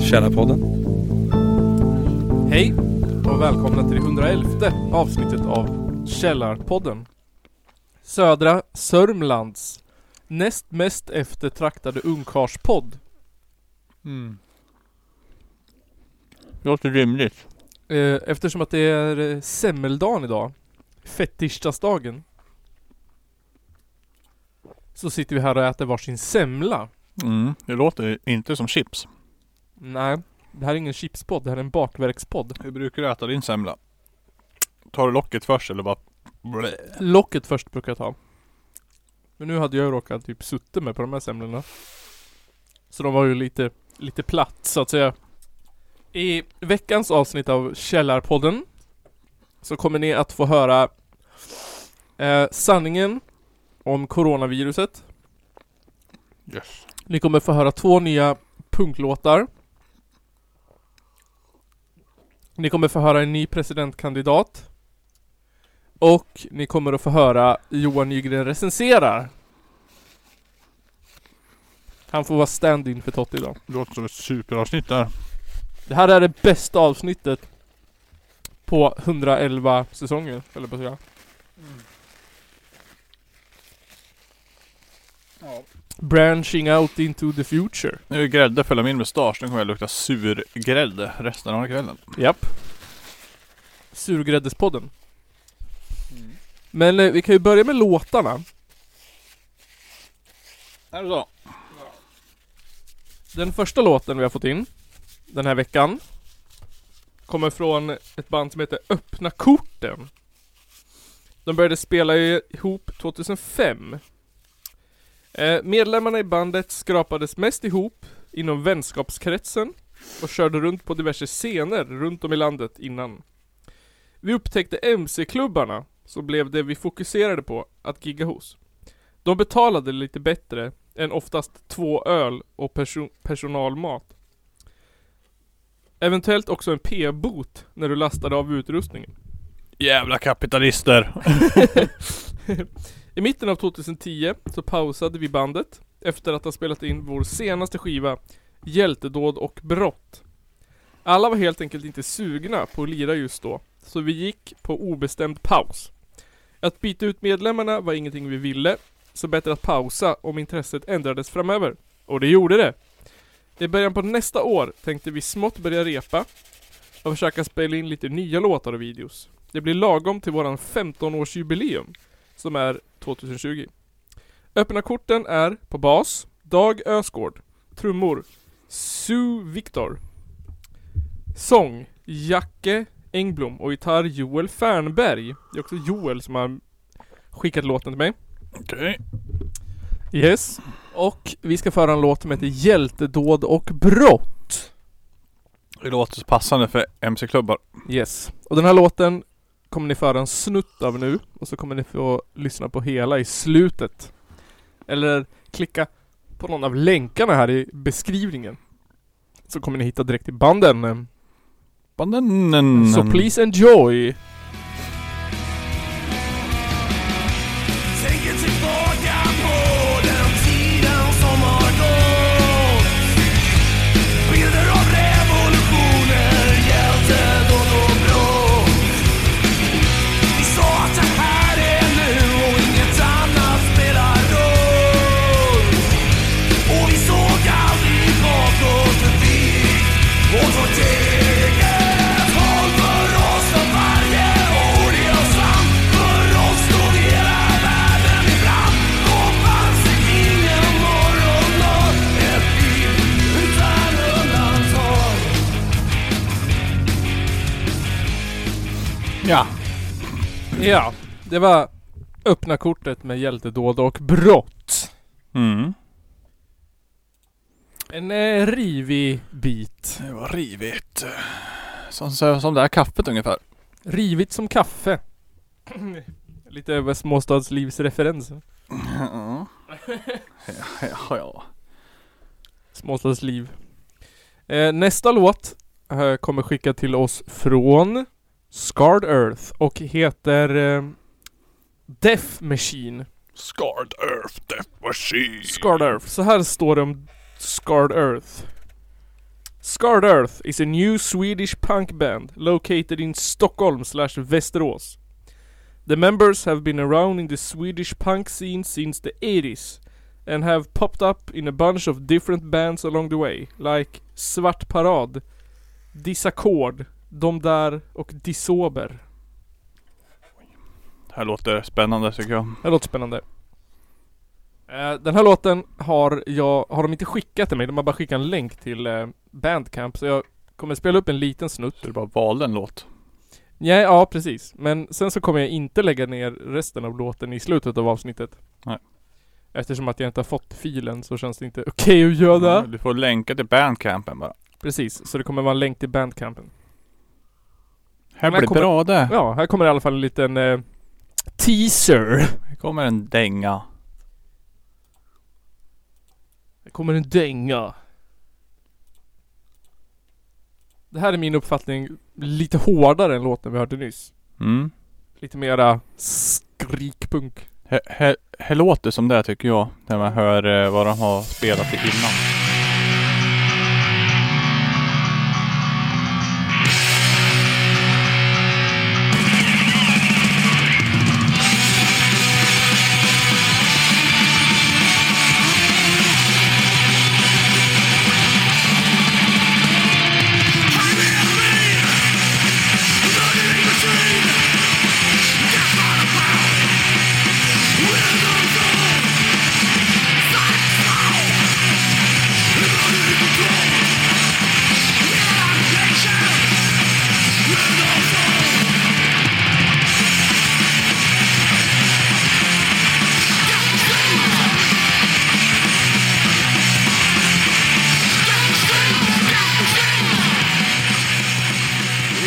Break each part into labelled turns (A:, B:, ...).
A: Källarpodden.
B: Hej och välkomna till det 111 avsnittet av Källarpodden. Södra Sörmlands näst mest eftertraktade ungkarspodd.
C: Mm. Låter rimligt.
B: Eh, Eftersom att det är eh, semmeldagen idag, fettischdagsdagen. Så sitter vi här och äter varsin semla.
C: Mm. Det låter inte som chips.
B: Nej, det här är ingen chipspodd, det här är en bakverkspodd.
C: Hur brukar du äta din semla? Tar du locket först eller bara... Blä.
B: Locket först brukar jag ta. Men nu hade jag råkat typ sutta med på de här semlorna. Så de var ju lite, lite platt så att säga. I veckans avsnitt av Källarpodden så kommer ni att få höra eh, sanningen om coronaviruset.
C: Yes.
B: Ni kommer få höra två nya punklåtar. Ni kommer få höra en ny presidentkandidat. Och ni kommer att få höra Johan Nygren recenserar. Han får vara stand-in för Totti idag.
C: Låter som ett superavsnitt där.
B: Det här är det bästa avsnittet på 111 säsonger, eller på att säga. Branching out into the future.
C: Nu är grädde följer min mustasch. Nu kommer jag lukta surgrädde resten av kvällen.
B: Japp. Surgräddespodden. Men eh, vi kan ju börja med låtarna.
C: Är det så?
B: Den första låten vi har fått in den här veckan kommer från ett band som heter Öppna korten. De började spela i- ihop 2005. Eh, medlemmarna i bandet skrapades mest ihop inom vänskapskretsen och körde runt på diverse scener runt om i landet innan. Vi upptäckte MC-klubbarna, så blev det vi fokuserade på att gigga hos. De betalade lite bättre än oftast två öl och perso- personalmat. Eventuellt också en p-bot när du lastade av utrustningen.
C: Jävla kapitalister!
B: I mitten av 2010 så pausade vi bandet efter att ha spelat in vår senaste skiva Hjältedåd och brott. Alla var helt enkelt inte sugna på att lira just då, så vi gick på obestämd paus. Att byta ut medlemmarna var ingenting vi ville, så bättre att pausa om intresset ändrades framöver. Och det gjorde det. I början på nästa år tänkte vi smått börja repa och försöka spela in lite nya låtar och videos. Det blir lagom till våran 15-årsjubileum som är 2020. Öppna korten är på bas, Dag Ösgård, trummor, Sue Victor, sång, Jacke Engblom och gitarr Joel Fernberg. Det är också Joel som har skickat låten till mig.
C: Okej.
B: Yes. Och vi ska föra en låt som heter Hjältedåd och brott.
C: Det låter så passande för MC-klubbar.
B: Yes. Och den här låten kommer ni föra en snutt av nu och så kommer ni få lyssna på hela i slutet. Eller klicka på någon av länkarna här i beskrivningen. Så kommer ni hitta direkt till banden.
C: Bananen.
B: Så please enjoy!
D: Tänker tillbaka på den tiden som har gått Bilder av revolutioner, hjältedåd och bråk Vi sa att det här är nu och inget annat spelar roll Och vi såg aldrig bakåt förbi åt vårt eget håll För oss var varje ord i oss fram För oss stod hela världen i brand Då fanns det ingen morgondag Ett liv utan undantag
C: Ja.
B: Ja, det var öppna kortet med hjältedåd och brott.
C: Mm.
B: En eh, rivig bit.
C: Det var rivigt. Som, som som det här kaffet ungefär.
B: Rivigt som kaffe. Lite över småstadslivsreferenser.
C: Ja. ja, ja.
B: Småstads liv. Eh, nästa låt eh, kommer skicka till oss från Scarred Earth och heter eh, Death Machine.
C: Scarred Earth Death Machine.
B: Scarred Earth. Så här står det om Scarred Earth. Scarred Earth is a new Swedish punk band located in Stockholm slash Västerås. The members have been around in the Swedish punk scene since the 80s and have popped up in a bunch of different bands along the way, like Svart Parad, Disakkord, De Där och Disober.
C: Det här låter spännande tycker jag.
B: Det här låter spännande. Eh, Den här låten har jag, har de inte skickat till mig, de har bara skickat en länk till eh, Bandcamp så jag kommer spela upp en liten snutt.
C: Så du bara valde en låt.
B: Nej, ja precis. Men sen så kommer jag inte lägga ner resten av låten i slutet av avsnittet.
C: Nej.
B: Eftersom att jag inte har fått filen så känns det inte okej att göra.
C: Du får länka till bandcampen bara.
B: Precis, så det kommer vara en länk till bandcampen.
C: Här
B: Men jag
C: blir
B: kommer-
C: bra det.
B: Ja, här kommer i alla fall en liten eh, teaser.
C: Här kommer en dänga.
B: Det kommer en dänga. Det här är min uppfattning lite hårdare än låten vi hörde nyss.
C: Mm.
B: Lite mera skrikpunk.
C: Här- Här här låter som det tycker jag. När man hör eh, vad de har spelat i innan.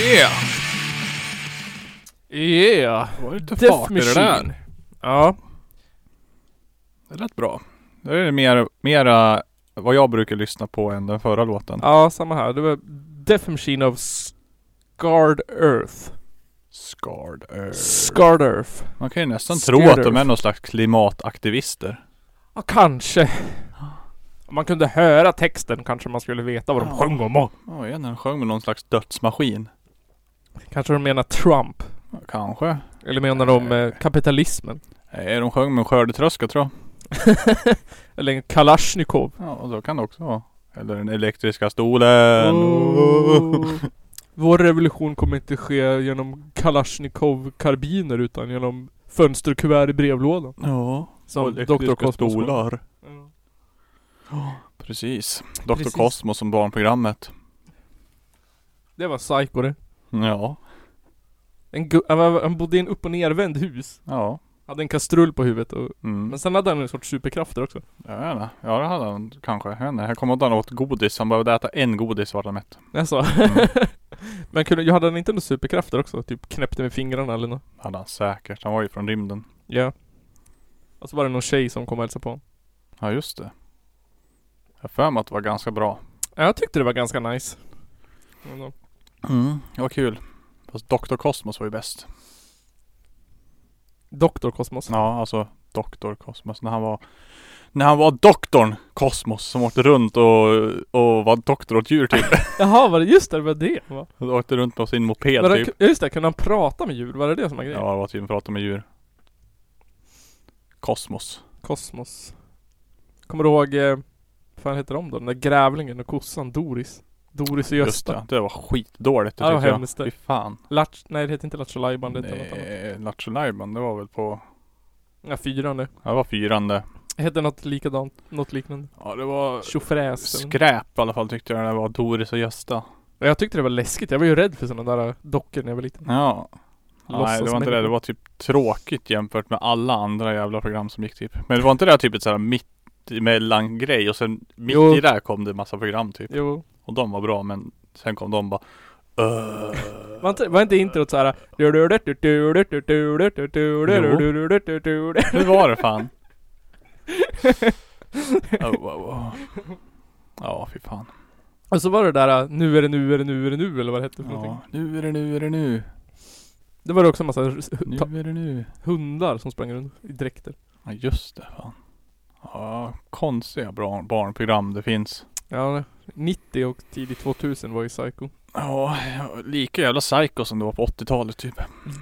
C: Yeah!
B: Yeah!
C: Det var lite
B: Death
C: fart i det
B: Machine.
C: där.
B: Ja,
C: Det lät bra. Det är mer, mera vad jag brukar lyssna på än den förra låten.
B: ja samma här. Det var Death Machine of Scarred Earth.
C: Scarred Earth.
B: Scarred Earth.
C: Man kan ju nästan
B: Scared
C: tro att de
B: Earth.
C: är någon slags klimataktivister.
B: Ja, kanske. Om man kunde höra texten kanske man skulle veta vad de
C: Ja.
B: sjöng om.
C: Ja, igen, han sjöng med någon slags dödsmaskin.
B: Kanske de menar Trump.
C: Ja, Kanske.
B: Eller menar de eh, kapitalismen.
C: Nej, de sjöng med en skördetröska tror jag.
B: Eller en Kalashnikov.
C: Ja, och då kan det också vara. Eller den elektriska stolen.
B: Oh. Vår revolution kommer inte ske genom Kalashnikov-karbiner utan genom fönsterkuvert i brevlådan.
C: Ja.
B: Som
C: och
B: Dr.
C: elektriska
B: Cosmos.
C: stolar.
B: Ja.
C: Precis. Dr.
B: Precis.
C: Cosmos som barnprogrammet.
B: Det var psycho det.
C: Ja.
B: En gu- han var- han bodde i en upp och nervänd hus.
C: Ja.
B: Hade en kastrull på huvudet och...
C: Mm.
B: Men sen hade han en sorts superkrafter också.
C: Jag vet inte. Ja det hade han kanske. Jag vet inte. Här kommer att han åt godis. Han behövde äta en godis vart han mätt.
B: Alltså.
C: Mm.
B: Men kunde, jag hade han inte några superkrafter också? Typ knäppte med fingrarna eller något?
C: hade han säkert. Han var ju från rymden.
B: Ja. Och så var det någon tjej som kom och hälsade på honom.
C: Ja just det. Jag har för mig att det var ganska bra.
B: Ja, jag tyckte det var ganska nice. Men då-
C: Mm. Det var kul. Fast Dr. Cosmos var ju bäst.
B: Doktor Kosmos.
C: Ja alltså Dr. Cosmos. När han var när han var doktorn Cosmos som åkte runt och, och var doktor åt djur typ.
B: Jaha, var det just det? Det var det va?
C: Han åkte runt på sin moped
B: Var det,
C: typ.
B: ja, just det, kunde han prata med djur? Var det det som var grejen?
C: Ja, det var typ prata med djur. Kosmos.
B: Kosmos. Kommer du ihåg, eh, vad fan heter de då? Den där grävlingen och kossan Doris. Doris och
C: Just
B: Gösta.
C: det, det var skitdåligt det
B: Ja, det var
C: tyckte jag.
B: hemskt det.
C: Fy fan.
B: Latch, nej det heter inte Lattjo Lajban, det heter något annat.
C: Nej, Lattjo Lajban, det var väl på...
B: Ja, fyran nu.
C: Ja, det var fyran det.
B: Det hette något likadant, något liknande.
C: Ja, det var...
B: Tjofräs. eller-
C: Skräp i alla fall tyckte jag när det var Doris och Gösta.
B: Ja, Jag tyckte det var läskigt. Jag var ju rädd för sådana där dockor när jag var liten.
C: Ja.
B: Låtsas
C: Nej, det var inte
B: människor.
C: det. Det var typ tråkigt jämfört med alla andra jävla program som gick typ. Men det var inte det här typ ett sådär mitt emellan grej och sen mitt
B: Jo.
C: i det här kom det massa program typ.
B: Jo.
C: Och de var bra men sen kom de bara... "Öh."
B: Var inte, var inte introt såhär...
C: Hur var det fan? oh, oh, oh. Ja, fy fan.
B: Och så var det där nu är det nu är det nu är det nu eller vad det hette för
C: Ja,
B: någonting.
C: nu är det nu är det nu.
B: Det var det också en massa r-
C: Nu
B: ta-
C: är det nu.
B: hundar som sprang runt i dräkter.
C: Ja, just det fan. Ja, Ja, konstiga bra barnprogram det finns.
B: Ja, 90 och tidigt 2000 var ju Psycho.
C: Ja, lika jävla psycho som det var på 80-talet typ.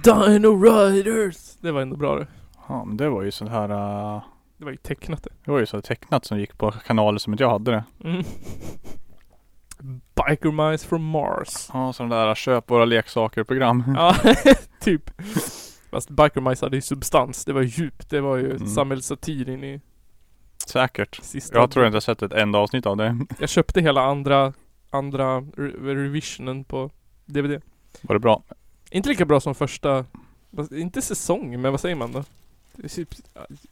B: Dino Riders! Det var ändå bra det.
C: Ja, men det var ju sånt här... eh,
B: Det var ju tecknat det.
C: det var ju så här tecknat som gick på kanaler som inte jag hade det.
B: Mm. Biker Mice from Mars.
C: Ja, sådana där äh, köp våra leksaker-program.
B: Ja, typ. Fast Biker Mice hade ju substans. Det var djupt. Det var ju
C: Mm.
B: samhällssatir in i
C: Säkert.
B: sista...
C: Jag tror inte jag sett ett enda avsnitt av det.
B: Jag köpte hela andra, andra re- revisionen på DVD.
C: Var det bra?
B: Inte lika bra som första, vad- inte säsong, men vad säger man då? Det är typ-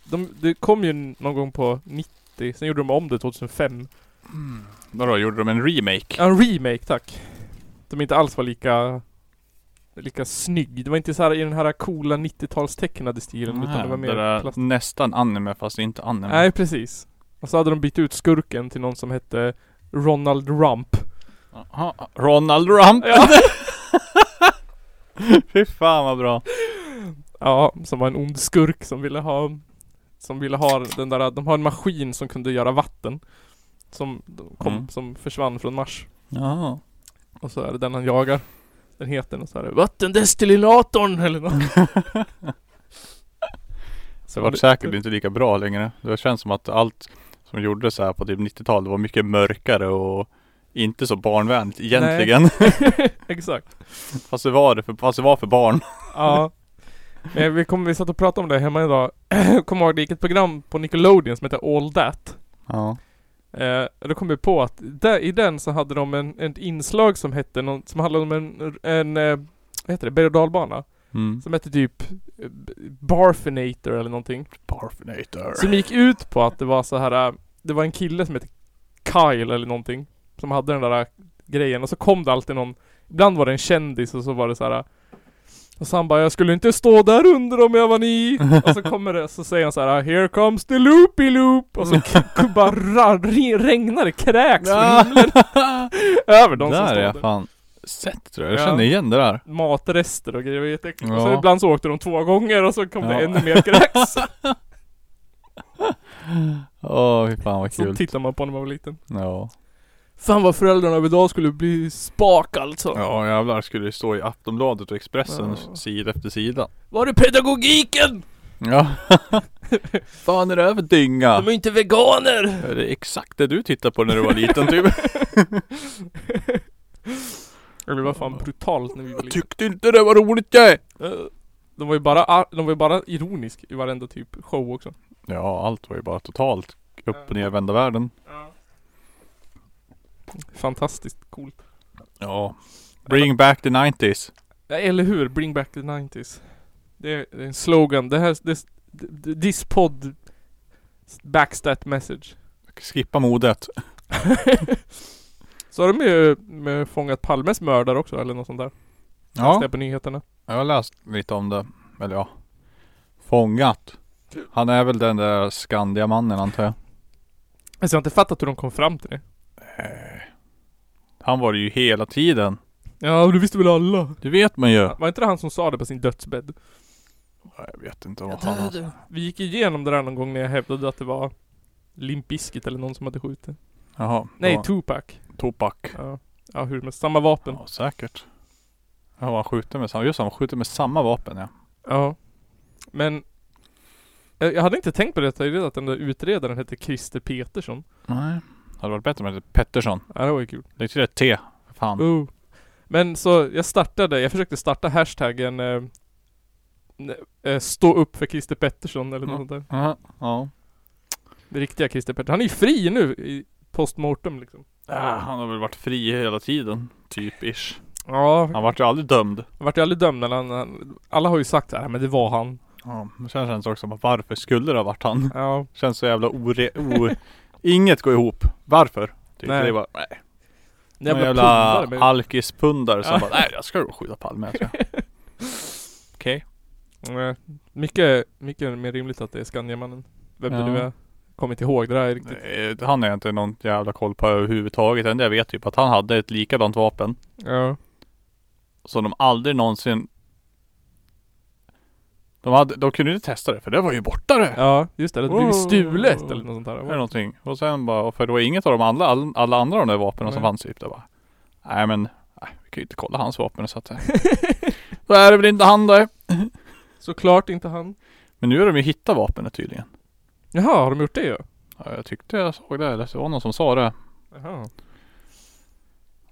B: De, det kom ju någon gång på 90, sen gjorde de om det 2005.
C: Mm. Vadå, gjorde de en remake?
B: Ja, en remake, tack. De inte alls var lika lika snygg. Det var inte så här i den här coola 90-talstecknade stilen utan Ah, det var mer
C: där
B: plast.
C: äh, nästan anime fast inte anime.
B: Nej, precis. Och så hade de bytt ut skurken till någon som hette Ronald Rump.
C: Aha, Ronald Rump!
B: Ja.
C: Fy fan vad bra.
B: Ja, som var en ond skurk som ville ha Som ville ha den där, de har en maskin som kunde göra vatten Som de kom,
C: Mm.
B: som försvann från Mars
C: Ja.
B: Och så är det den han jagar Den heter och så är det Vattendestillatorn eller något
C: Det
B: Så
C: var säkert inte lika bra längre. Det känns som att allt som gjordes så här på typ 90-talet var mycket mörkare och inte så barnvänligt egentligen.
B: Exakt
C: Fast, det var det för, fast det var för barn.
B: Ja Men vi kommer, vi satt och pratade om det hemma idag Kommer ihåg, det gick ett program på Nickelodeon som heter All That
C: Ja.
B: Eh, då kom vi på att där, i den så hade de en, ett inslag som hette någon, som handlade om en, en eh, vad heter det, berg och dalbana.
C: Mm.
B: Som hette typ eh, b- Barfinator eller någonting.
C: Barfinator.
B: Som gick ut på att det var så här eh, det var en kille som hette Kyle eller någonting. Som hade den där eh, grejen och så kom det alltid någon, ibland var det en kändis och så var det så här eh, och så han bara 'Jag skulle inte stå där under om jag var ni' Och så kommer det, så säger han så här "Äh, 'Here comes the loopy loop' Och
C: Mm.
B: så k- k- bara ra- re- regnar det kräks från
C: Ja.
B: himlen över de som
C: där
B: stod
C: är jag
B: där.
C: fan sett tror jag. Jag
B: Ja.
C: känner igen det där.
B: Matrester och grejer, det var jätteäckligt. Och så
C: Ja.
B: ibland så åkte de två gånger och så kom det
C: Ja.
B: ännu mer kräks.
C: Åh fy fan vad
B: så
C: kul.
B: tittar man på när man var liten.
C: Ja.
B: Fan vad föräldrarna av idag skulle bli spak alltså.
C: ja jävlar skulle det stå i Aftonbladet och Expressen
B: Ja.
C: sida efter sida.
B: Var är pedagogiken?
C: Ja. fan är det här för dynga?
B: är inte veganer!
C: Är det exakt det du tittade på när du var liten typ?
B: Det var fan brutalt när vi var liten.
C: Tyckte inte det var roligt jag!
B: Eh. De var ju bara, ar- de var ju bara ironisk i varenda typ show också.
C: Ja allt var ju bara totalt upp och nervända världen.
B: Fantastiskt coolt.
C: Ja. Bring back the 90s.
B: Ja, eller hur? Bring back the 90s. Det är, det är en slogan. Det här, this, this pod backs that message.
C: Skippa modet.
B: Så har de ju med fångat Palmes mördare också eller något sånt där. Ja.
C: Ja,
B: på nyheterna.
C: jag har läst lite om det. Eller ja. Fångat. Han är väl den där Skandiamannen antar jag.
B: Alltså jag har inte fattat hur de kom fram till det.
C: Han var det ju hela tiden.
B: Ja, men det visste väl alla.
C: Det vet man ju.
B: Var inte det han som sa det på sin dödsbädd?
C: Jag vet inte vad han var.
B: Vi gick igenom det där någon gång när jag hävdade att det var Limp Bizkit eller någon som hade skjutit.
C: Jaha.
B: Nej,
C: ja.
B: Tupac.
C: Tupac.
B: Ja. ja, hur med samma vapen.
C: Ja, säkert. Ja, han skjuter med samma, just det, han skjuter med samma vapen ja.
B: Ja. Men eh, jag jag hade inte tänkt på det, jag reda att den där utredaren hette Christer Petersson.
C: Nej. Hade varit bättre om det hette Pettersson.
B: Ja, det var ju kul.
C: Lägg till ett T. För fan.
B: Oh. Men så jag startade, jag försökte starta hashtaggen eh, ne- eh, Stå upp för Christer Pettersson eller något
C: Mm.
B: sånt där.
C: Jaha. Ja.
B: Det riktiga Christer Pettersson. Han är ju fri nu i postmortem liksom.
C: Ah, han har väl varit fri hela tiden. Typ ish.
B: Ja,
C: Han vart ju aldrig dömd.
B: han vart ju aldrig dömd men han, han, alla har ju sagt såhär, men det var han.
C: Ja. Men sen känns det också som att varför skulle det ha varit han?
B: Ja.
C: Känns så jävla ore... O... Inget går ihop. Varför? Typ.
B: Nej.
C: Det är bara, nej.
B: När jag
C: Någon
B: jävla
C: jävla
B: pundare med...
C: alkispundare som
B: Ja.
C: bara, nej jag ska gå och skjuta Palme tror jag. Okej.
B: Nej. Mycket, mycket mer rimligt att det är Skandiamannen. Vem det
C: Ja.
B: nu är. Kommer inte ihåg det där riktigt.
C: Eh, Han har jag inte någon jävla koll på överhuvudtaget. Det enda jag vet typ att han hade ett likadant vapen.
B: Ja.
C: Som de aldrig någonsin... De De, hade, de kunde inte testa det för det var ju borta det.
B: Ja, just det. Det hade blivit
C: Wow.
B: stulet eller något sånt där.
C: Eller någonting. Och sen bara, för det var inget av de alla, all- alla andra av de där vapnen som
B: Nej.
C: fanns typ. Det bara, nej men, nej, vi kan ju inte kolla hans vapen så att eh, Då är det väl inte han då.
B: Såklart inte han. Men...
C: Men nu har de ju hittat vapnet tydligen.
B: Jaha, har de gjort det ju?
C: Ja, jag tyckte jag såg det, eller det var någon som sa det.
B: Jaha.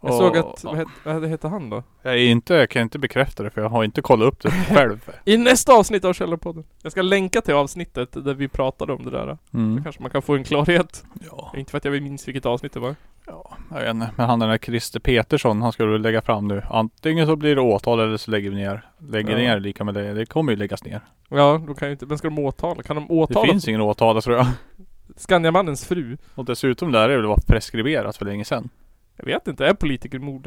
B: Jag
C: Och-
B: såg att, vad hette, vad hette han då?
C: Jag, är inte, jag kan inte bekräfta det för jag har inte kollat upp det själv.
B: I nästa avsnitt av Källarpodden. Jag ska länka till avsnittet där vi pratade om det där. Då
C: Mm.
B: kanske man kan få en klarhet.
C: Ja,
B: Inte för att jag minns vilket avsnitt det var.
C: ja, jag vet inte. Men han den där Christer Petersson, han skulle lägga fram nu. Antingen så blir det åtal eller så lägger vi ner. Lägger
B: Ja.
C: ner lika med det. Det kommer ju läggas ner.
B: Ja, då kan jag inte, men ska de åtala? Kan de
C: Det
B: åtala
C: finns ingen åtal tror jag.
B: Skandiamannens fru?
C: Och dessutom lär det väl vara preskriberat för länge sedan.
B: Jag vet inte, är politiker mord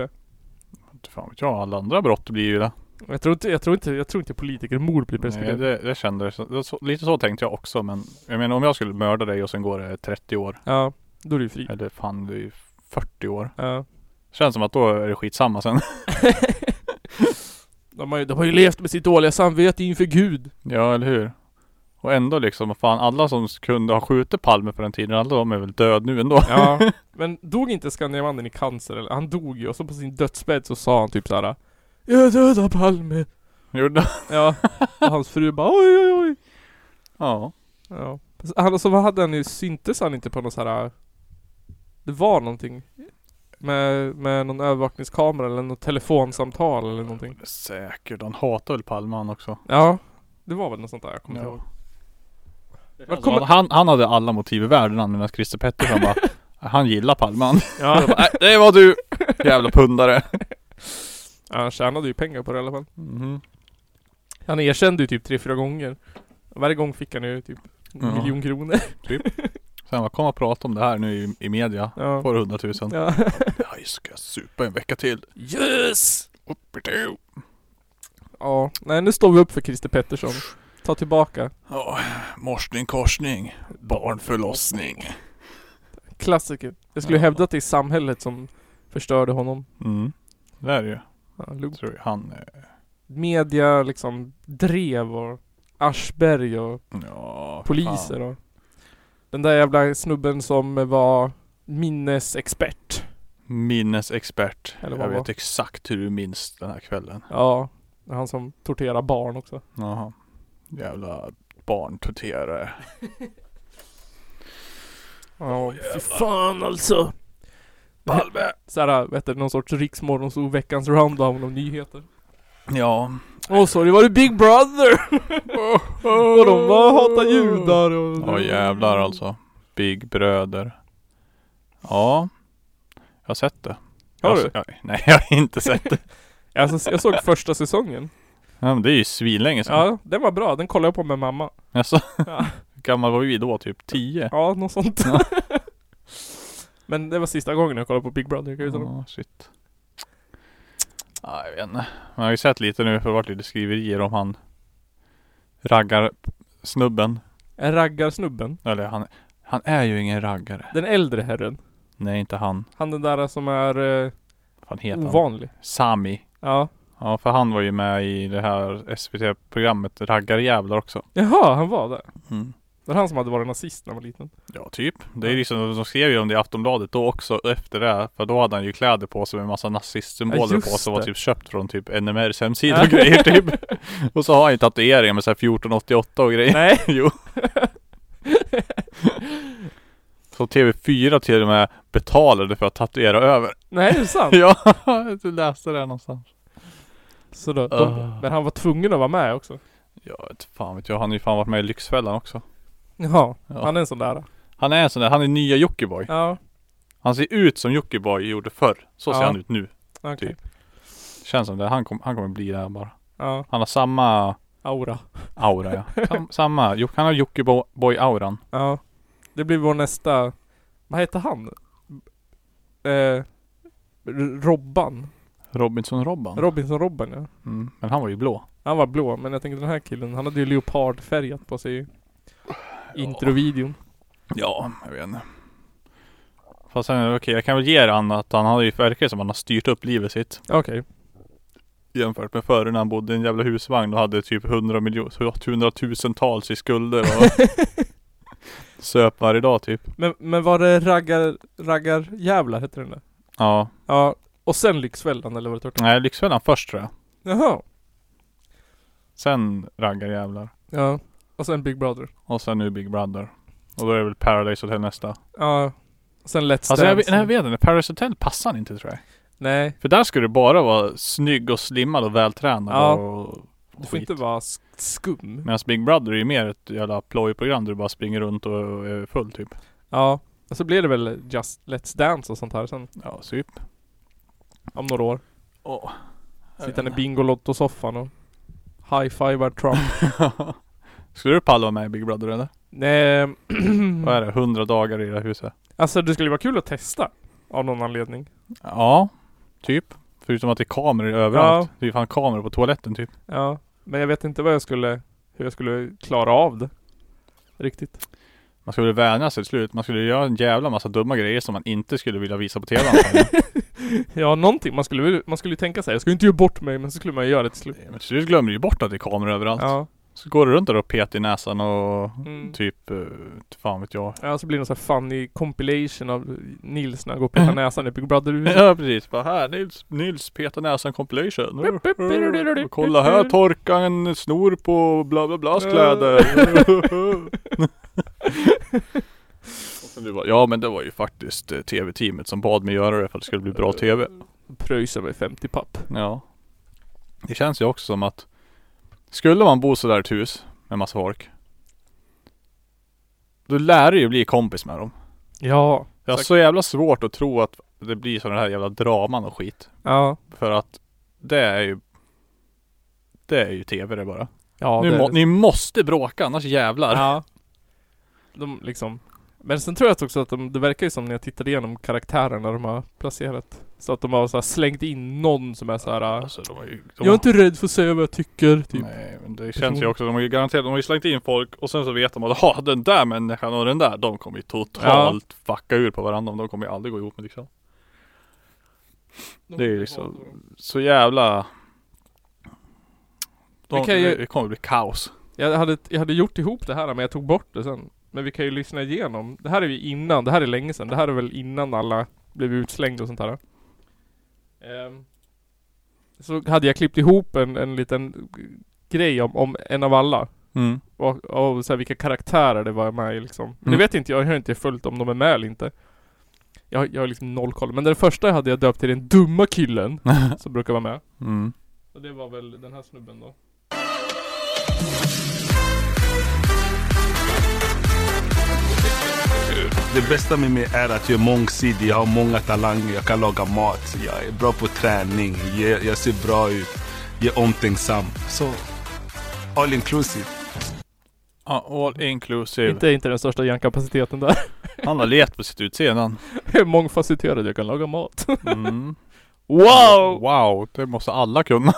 C: Inte fan vet jag, alla andra brott blir ju det.
B: Jag tror inte, jag tror inte, jag tror inte politikermord blir
C: Nej,
B: preskriberat.
C: det, det kändes, det, så, lite så tänkte jag också men jag menar om jag skulle mörda dig och sen går det 30 år.
B: Ja, då är du fri.
C: Eller fan det är ju 40 år.
B: Ja.
C: Känns som att då är det skitsamma sen.
B: De har, ju, de har ju levt med sitt dåliga samvete inför Gud.
C: ja eller hur. Och ändå liksom, fan alla som kunde ha skjutit Palme på den tiden, alla de är väl död nu ändå.
B: Ja. men dog inte Skandiamannen i cancer? Eller? Han dog ju och så på sin dödsbädd så sa han typ såhär Jag dödar Palme.
C: Gjorde
B: Ja. Och hans fru bara oj oj oj.
C: Ja.
B: Ja. Han, så vad hade han ju, syntes han inte på någon så här. Det var någonting. Med, med någon övervakningskamera eller något telefonsamtal eller någonting.
C: Säkert, han hatar väl Palme han också.
B: Ja. Det var väl något sånt där, jag kommer
C: Ja.
B: inte ihåg.
C: Alltså, han, han, han hade alla motiv i världen han, medan Christer Pettersson bara Han gillar Palme han.
B: Ja.
C: Bara, "Nej, Det var du! Jävla pundare.
B: ja, han tjänade ju pengar på det i alla fall.
C: Mhm.
B: Han erkände ju typ tre, fyra gånger. Varje gång fick han ju typ en
C: Ja.
B: miljon kronor.
C: Sen bara, kom och prata om det här nu i, i media.
B: Ja.
C: Får du 100 000.
B: Ja.
C: Jag ska supa en vecka till.
B: Yes! Ja, nej nu står vi upp för Christer Pettersson. Ta tillbaka.
C: Ja, morsning korsning. Barnförlossning.
B: Klassiker. Jag skulle
C: Ja.
B: hävda att det är samhället som förstörde honom.
C: Mm. Det är det ju.
B: Ja, lugnt.
C: Tror jag. Han, eh,
B: Media liksom drev och Aschberg och
C: ja.
B: poliser och Den där jävla snubben som var minnesexpert.
C: Fan. Minnesexpert.
B: Eller vad
C: jag
B: var?
C: vet exakt hur du minns den här kvällen.
B: Ja. Han som torterar barn också.
C: Jaha. Jävla barntorterare.
B: Ja, fy fan alltså.
C: Palme!
B: Såhär, vet du, någon sorts riksmorgonsov veckans roundown av nyheter.
C: Ja.
B: Åh sorry, var det Big Brother? och de bara hatar judar och...
C: Ja jävlar alltså. Big Bröder. Ja. Jag har sett det.
B: Har
C: Jag-
B: du?
C: Jag, nej jag har inte sett det.
B: Alltså, jag såg första säsongen.
C: Ja, men det är ju svinlänge sedan.
B: Ja, den var bra. Den kollade jag på med mamma.
C: Alltså,
B: Ja.
C: hur gammal var vi då? Typ 10?
B: Ja, något sånt. Men det var sista gången jag kollade på Big Brother. Kan jag säga.
C: Ja, shit. Ja, jag vet inte. Men jag har ju sett lite nu för det har varit lite skriverier om han raggar snubben.
B: En raggarsnubben.
C: Eller han, han är ju ingen raggare.
B: Den äldre herren.
C: Nej inte han.
B: Han den där som är eh,
C: Vad fan heter han?
B: ovanlig.
C: Sami.
B: Ja.
C: Ja för han var ju med i det här SVT-programmet Raggarjävlar också.
B: Jaha, han var där.
C: Mm.
B: Det var han som hade varit nazist när han var liten.
C: Ja typ. Det är liksom, de skrev ju om det i Aftonbladet då också efter det. För då hade han ju kläder på sig med en massa
B: Ja,
C: nazistsymboler
B: just
C: på sig. Var
B: det.
C: typ köpt från typ NMRs hemsida och grejer typ. Och så har han ju tatueringar med såhär 1488 och grejer.
B: Nej.
C: Jo. Så TV4 till och med betalade för att tatuera över.
B: Nej, det är sant.
C: Ja, du läste det någonstans.
B: Så då, de,
C: Ah.
B: men han var tvungen att vara med också.
C: Ja, vet fan vet jag. Han har ju fan varit med i Lyxfällan också.
B: Jaha,
C: Ja.
B: han är en sån där.
C: Han är en sån där, han är nya Jockiboi.
B: Ja,
C: Han ser ut som Jockiboi gjorde förr. Så ser
B: Ja.
C: han ut nu.
B: okej.
C: Typ. Känns som det. Han, kom, han kommer bli där bara.
B: Ja,
C: Han har samma
B: aura.
C: aura ja. Sam, samma. Jo- Han har Jockiboi-auran.
B: Ja. Det blir vår nästa... Vad heter han? Eh, R- Robban.
C: Robinson-Robban.
B: Robinson-Robban ja.
C: Mm. Men han var ju blå.
B: Han var blå, men jag tänkte den här killen, han hade ju leopardfärgat på sig i introvideon.
C: Ja, jag vet inte. Fast sen, okej jag kan väl ge han att han hade ju verkar som att han har styrt upp livet sitt.
B: Okej.
C: Jämfört med förr när han bodde i en jävla husvagn och hade typ 100 miljoner, hundratusentals i skulder och söp varje dag typ.
B: Men, men var det raggar, raggar jävlar heter den där?
C: Ja.
B: Ja. Och sen Lyxfällan eller var det tvärtom?
C: Nej, Lyxfällan först tror jag.
B: Jaha.
C: Sen Raggarjävlar.
B: Ja. Och sen Big Brother.
C: Och sen nu Big Brother. Och då är det väl Paradise Hotel nästa.
B: Ja. Och sen Let's
C: Alltså jag, vet-
B: Dance.
C: nej, jag vet inte, Paradise Hotel passar inte tror jag.
B: Nej.
C: För där skulle du bara vara snygg och slimmad och vältränad
B: Ja.
C: och
B: Du får inte vara sk- skum.
C: Medan Big Brother är ju mer ett jävla plojprogram där du bara springer runt och är full typ.
B: Ja. Och så blir det väl Just Let's Dance och sånt här sen.
C: Ja, typ.
B: Om några år.
C: Åh.
B: Sittande i Bingolotto-soffan och high-fivar Trump.
C: Skulle du palla vara med i Big Brother eller?
B: Nej. ehm, Mm.
C: Vad är det? 100 dagar i det här huset?
B: Alltså det skulle vara kul att testa. Av någon anledning.
C: Ja, typ. Förutom att det är kameror överallt.
B: Ja.
C: Det är fan kameror på toaletten typ.
B: Ja. Men jag vet inte vad jag skulle, hur jag skulle klara av det. Riktigt.
C: Man skulle vänja sig till slut. Man skulle göra en jävla massa dumma grejer som man inte skulle vilja visa på TV antagligen.
B: Ja, någonting. Man skulle, ju- man skulle ju tänka sig, jag ska ju inte göra bort mig, men så skulle man ju göra det till slut.
C: Men till slut glömmer du ju bort att det är kameror överallt.
B: Ja.
C: Så går du runt där och petar i näsan och
B: Mm.
C: typ, eh, fan vet jag.
B: Ja, så blir det någon sån här funny compilation av Nils när han går och petar näsan i Big Brother.
C: Mm. Ja precis, bara här Nils, Nils petar näsan compilation.
B: Bup, bup, bup,
C: Och Kolla här torkar en snor på bla bla blas kläder. Och sen du bara, ja men det var ju faktiskt eh, TV-teamet som bad mig göra det för att det skulle bli bra TV.
B: Pröjsar mig 50 papp.
C: Ja. Det känns ju också som att skulle man bo sådär i ett hus med massa folk. Då lär du ju bli kompis med dem.
B: Ja.
C: Jag har
B: Säkert.
C: så jävla svårt att tro att det blir sådana här jävla draman och skit.
B: Ja.
C: För att det är ju Det är ju tv det bara.
B: Ja,
C: nu
B: det-
C: må, Ni måste bråka annars jävlar.
B: Ja. De liksom. Men sen tror jag också att de, det verkar ju som när jag tittade igenom karaktärerna de har placerat. Så att de har så här slängt in någon som är så här. äh,
C: Alltså, de har ju, de
B: Jag är inte Mm. rädd för att säga vad jag tycker, typ.
C: Nej men det känns ju också, de har ju garanterat, de har ju slängt in folk och sen så vet de att ha den där människan och den där, de kommer ju totalt fucka ur på varandra, de kommer ju aldrig gå ihop med liksom. Det är ju liksom så jävla de,
B: Vi kan ju-
C: Det kommer bli kaos.
B: Jag hade, jag hade gjort ihop det här men jag tog bort det sen. Men vi kan ju lyssna igenom. Det här är ju innan, det här är länge sedan. Det här är väl innan alla blev utslängda och sånt här. Ehm, så hade jag klippt ihop en, en liten grej om, om en av alla.
C: Mm.
B: Och, och så här, vilka karaktärer det var med i liksom. Men
C: Mm.
B: det vet inte jag, jag har inte följt om de är med eller inte. Jag, jag har liksom noll koll. Men den första hade jag döpt till den dumma killen som brukar vara med.
C: mm.
B: Och det var väl den här snubben då.
A: Det bästa med mig är att jag är mångsidig, jag har många talanger, jag kan laga mat, jag är bra på träning, jag, jag ser bra ut, jag är omtänksam. Så, all inclusive.
C: Ja, all inclusive.
B: Inte, inte den största hjärnkapaciteten där.
C: Han har levt på sitt utseende han.
B: Jag är mångfacetterad, jag kan laga mat.
C: mm.
B: Wow!
C: Wow, det måste alla kunna.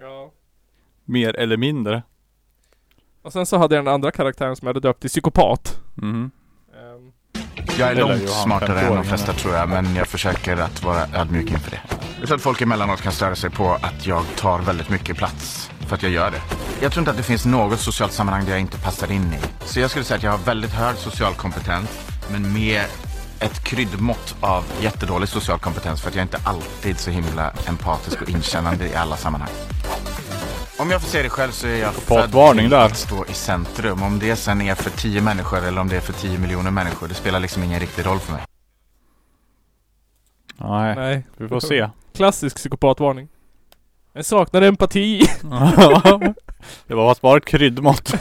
B: Ja.
C: Mer eller mindre.
B: Och sen så hade jag den andra karaktären som jag hade döpt till psykopat.
C: Mm.
B: Ehm,
E: Jag är
C: Eller
E: långt
C: Johan,
E: smartare än de
C: femtioåringen.
E: flesta tror jag, men jag försöker att vara ödmjuk inför det. Jag tror att folk emellanåt kan störa sig på att jag tar väldigt mycket plats, för att jag gör det. Jag tror inte att det finns något socialt sammanhang där jag inte passar in i. Så jag skulle säga att jag har väldigt hög social kompetens, men med ett kryddmått av jättedålig social kompetens för att jag inte alltid är så himla empatisk och inkännande i alla sammanhang. Om jag får se det själv så är jag
C: Patvarning
E: till
C: där.
E: att stå i centrum. Om det sen är för tio människor eller om det är för tio miljoner människor, det spelar liksom ingen riktig roll för mig.
C: Nej,
B: nej.
C: vi får se.
B: Klassisk psykopatvarning. Jag saknar empati.
C: det var bara ett kryddmått.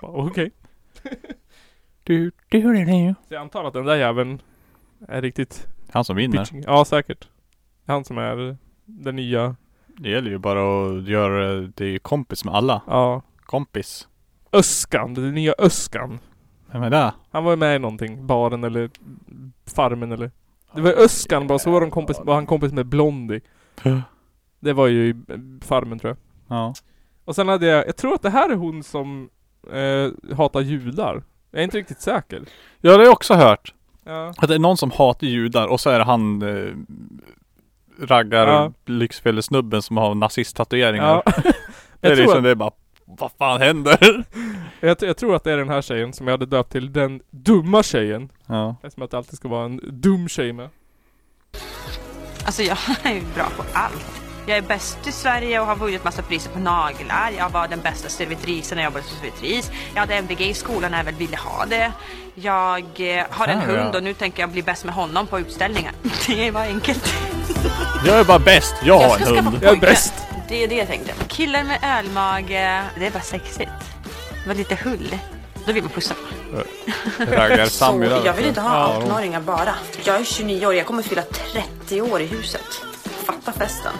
B: Bara, Okej. Så jag antar att den där jäveln är riktigt
C: Han som vinner.
B: pitching. Ja, säkert. Han som är den nya.
C: Det gäller ju bara att göra det är ju kompis med alla.
B: Ja.
C: Kompis.
B: Öskan. Den nya Öskan.
C: Vem är det?
B: Han var ju med i någonting. Baren eller farmen eller. Det var Öskan bara. Så var, de kompis, var han kompis med Blondie. Det var ju i farmen tror jag.
C: Ja.
B: Och sen hade jag, jag tror att det här är hon som eh, hatar judar. Jag är inte riktigt säker.
C: Jag har ju också hört
B: Ja.
C: att det är någon som hatar judar och så är det han eh, raggar
B: Ja.
C: lyxfällesnubben som har nazisttatueringar.
B: Ja.
C: det är
B: jag,
C: liksom
B: tror att,
C: det är bara vad fan händer?
B: jag, jag tror att det är den här tjejen som jag hade döpt till den dumma tjejen.
C: Ja.
B: Eftersom att det alltid ska vara en dum tjej med.
F: Alltså jag är ju bra på allt. Jag är bäst i Sverige och har vunnit massa priser på naglar. Jag var den bästa servitrisen när jag jobbade som servitris. Jag hade MVG i skolan när jag väl ville ha det. Jag eh, har en
C: Ah,
F: hund
C: ja.
F: och nu tänker jag bli bäst med honom på utställningar. Det var enkelt.
C: Jag är bara bäst, jag har
F: ska
C: en
F: skaffa
C: hund.
B: Jag är
F: pojkvän.
B: bäst.
F: Det är det jag tänkte. Killar med ölmage, det är bara sexigt. Det var lite hull. Då vill man pussa på.
C: Raggar
G: Så
C: Sammy
G: jag
C: där.
G: vill inte ha 18-åringar bara. Jag är 29 år, jag kommer fylla 30 år i huset. Fatta festen.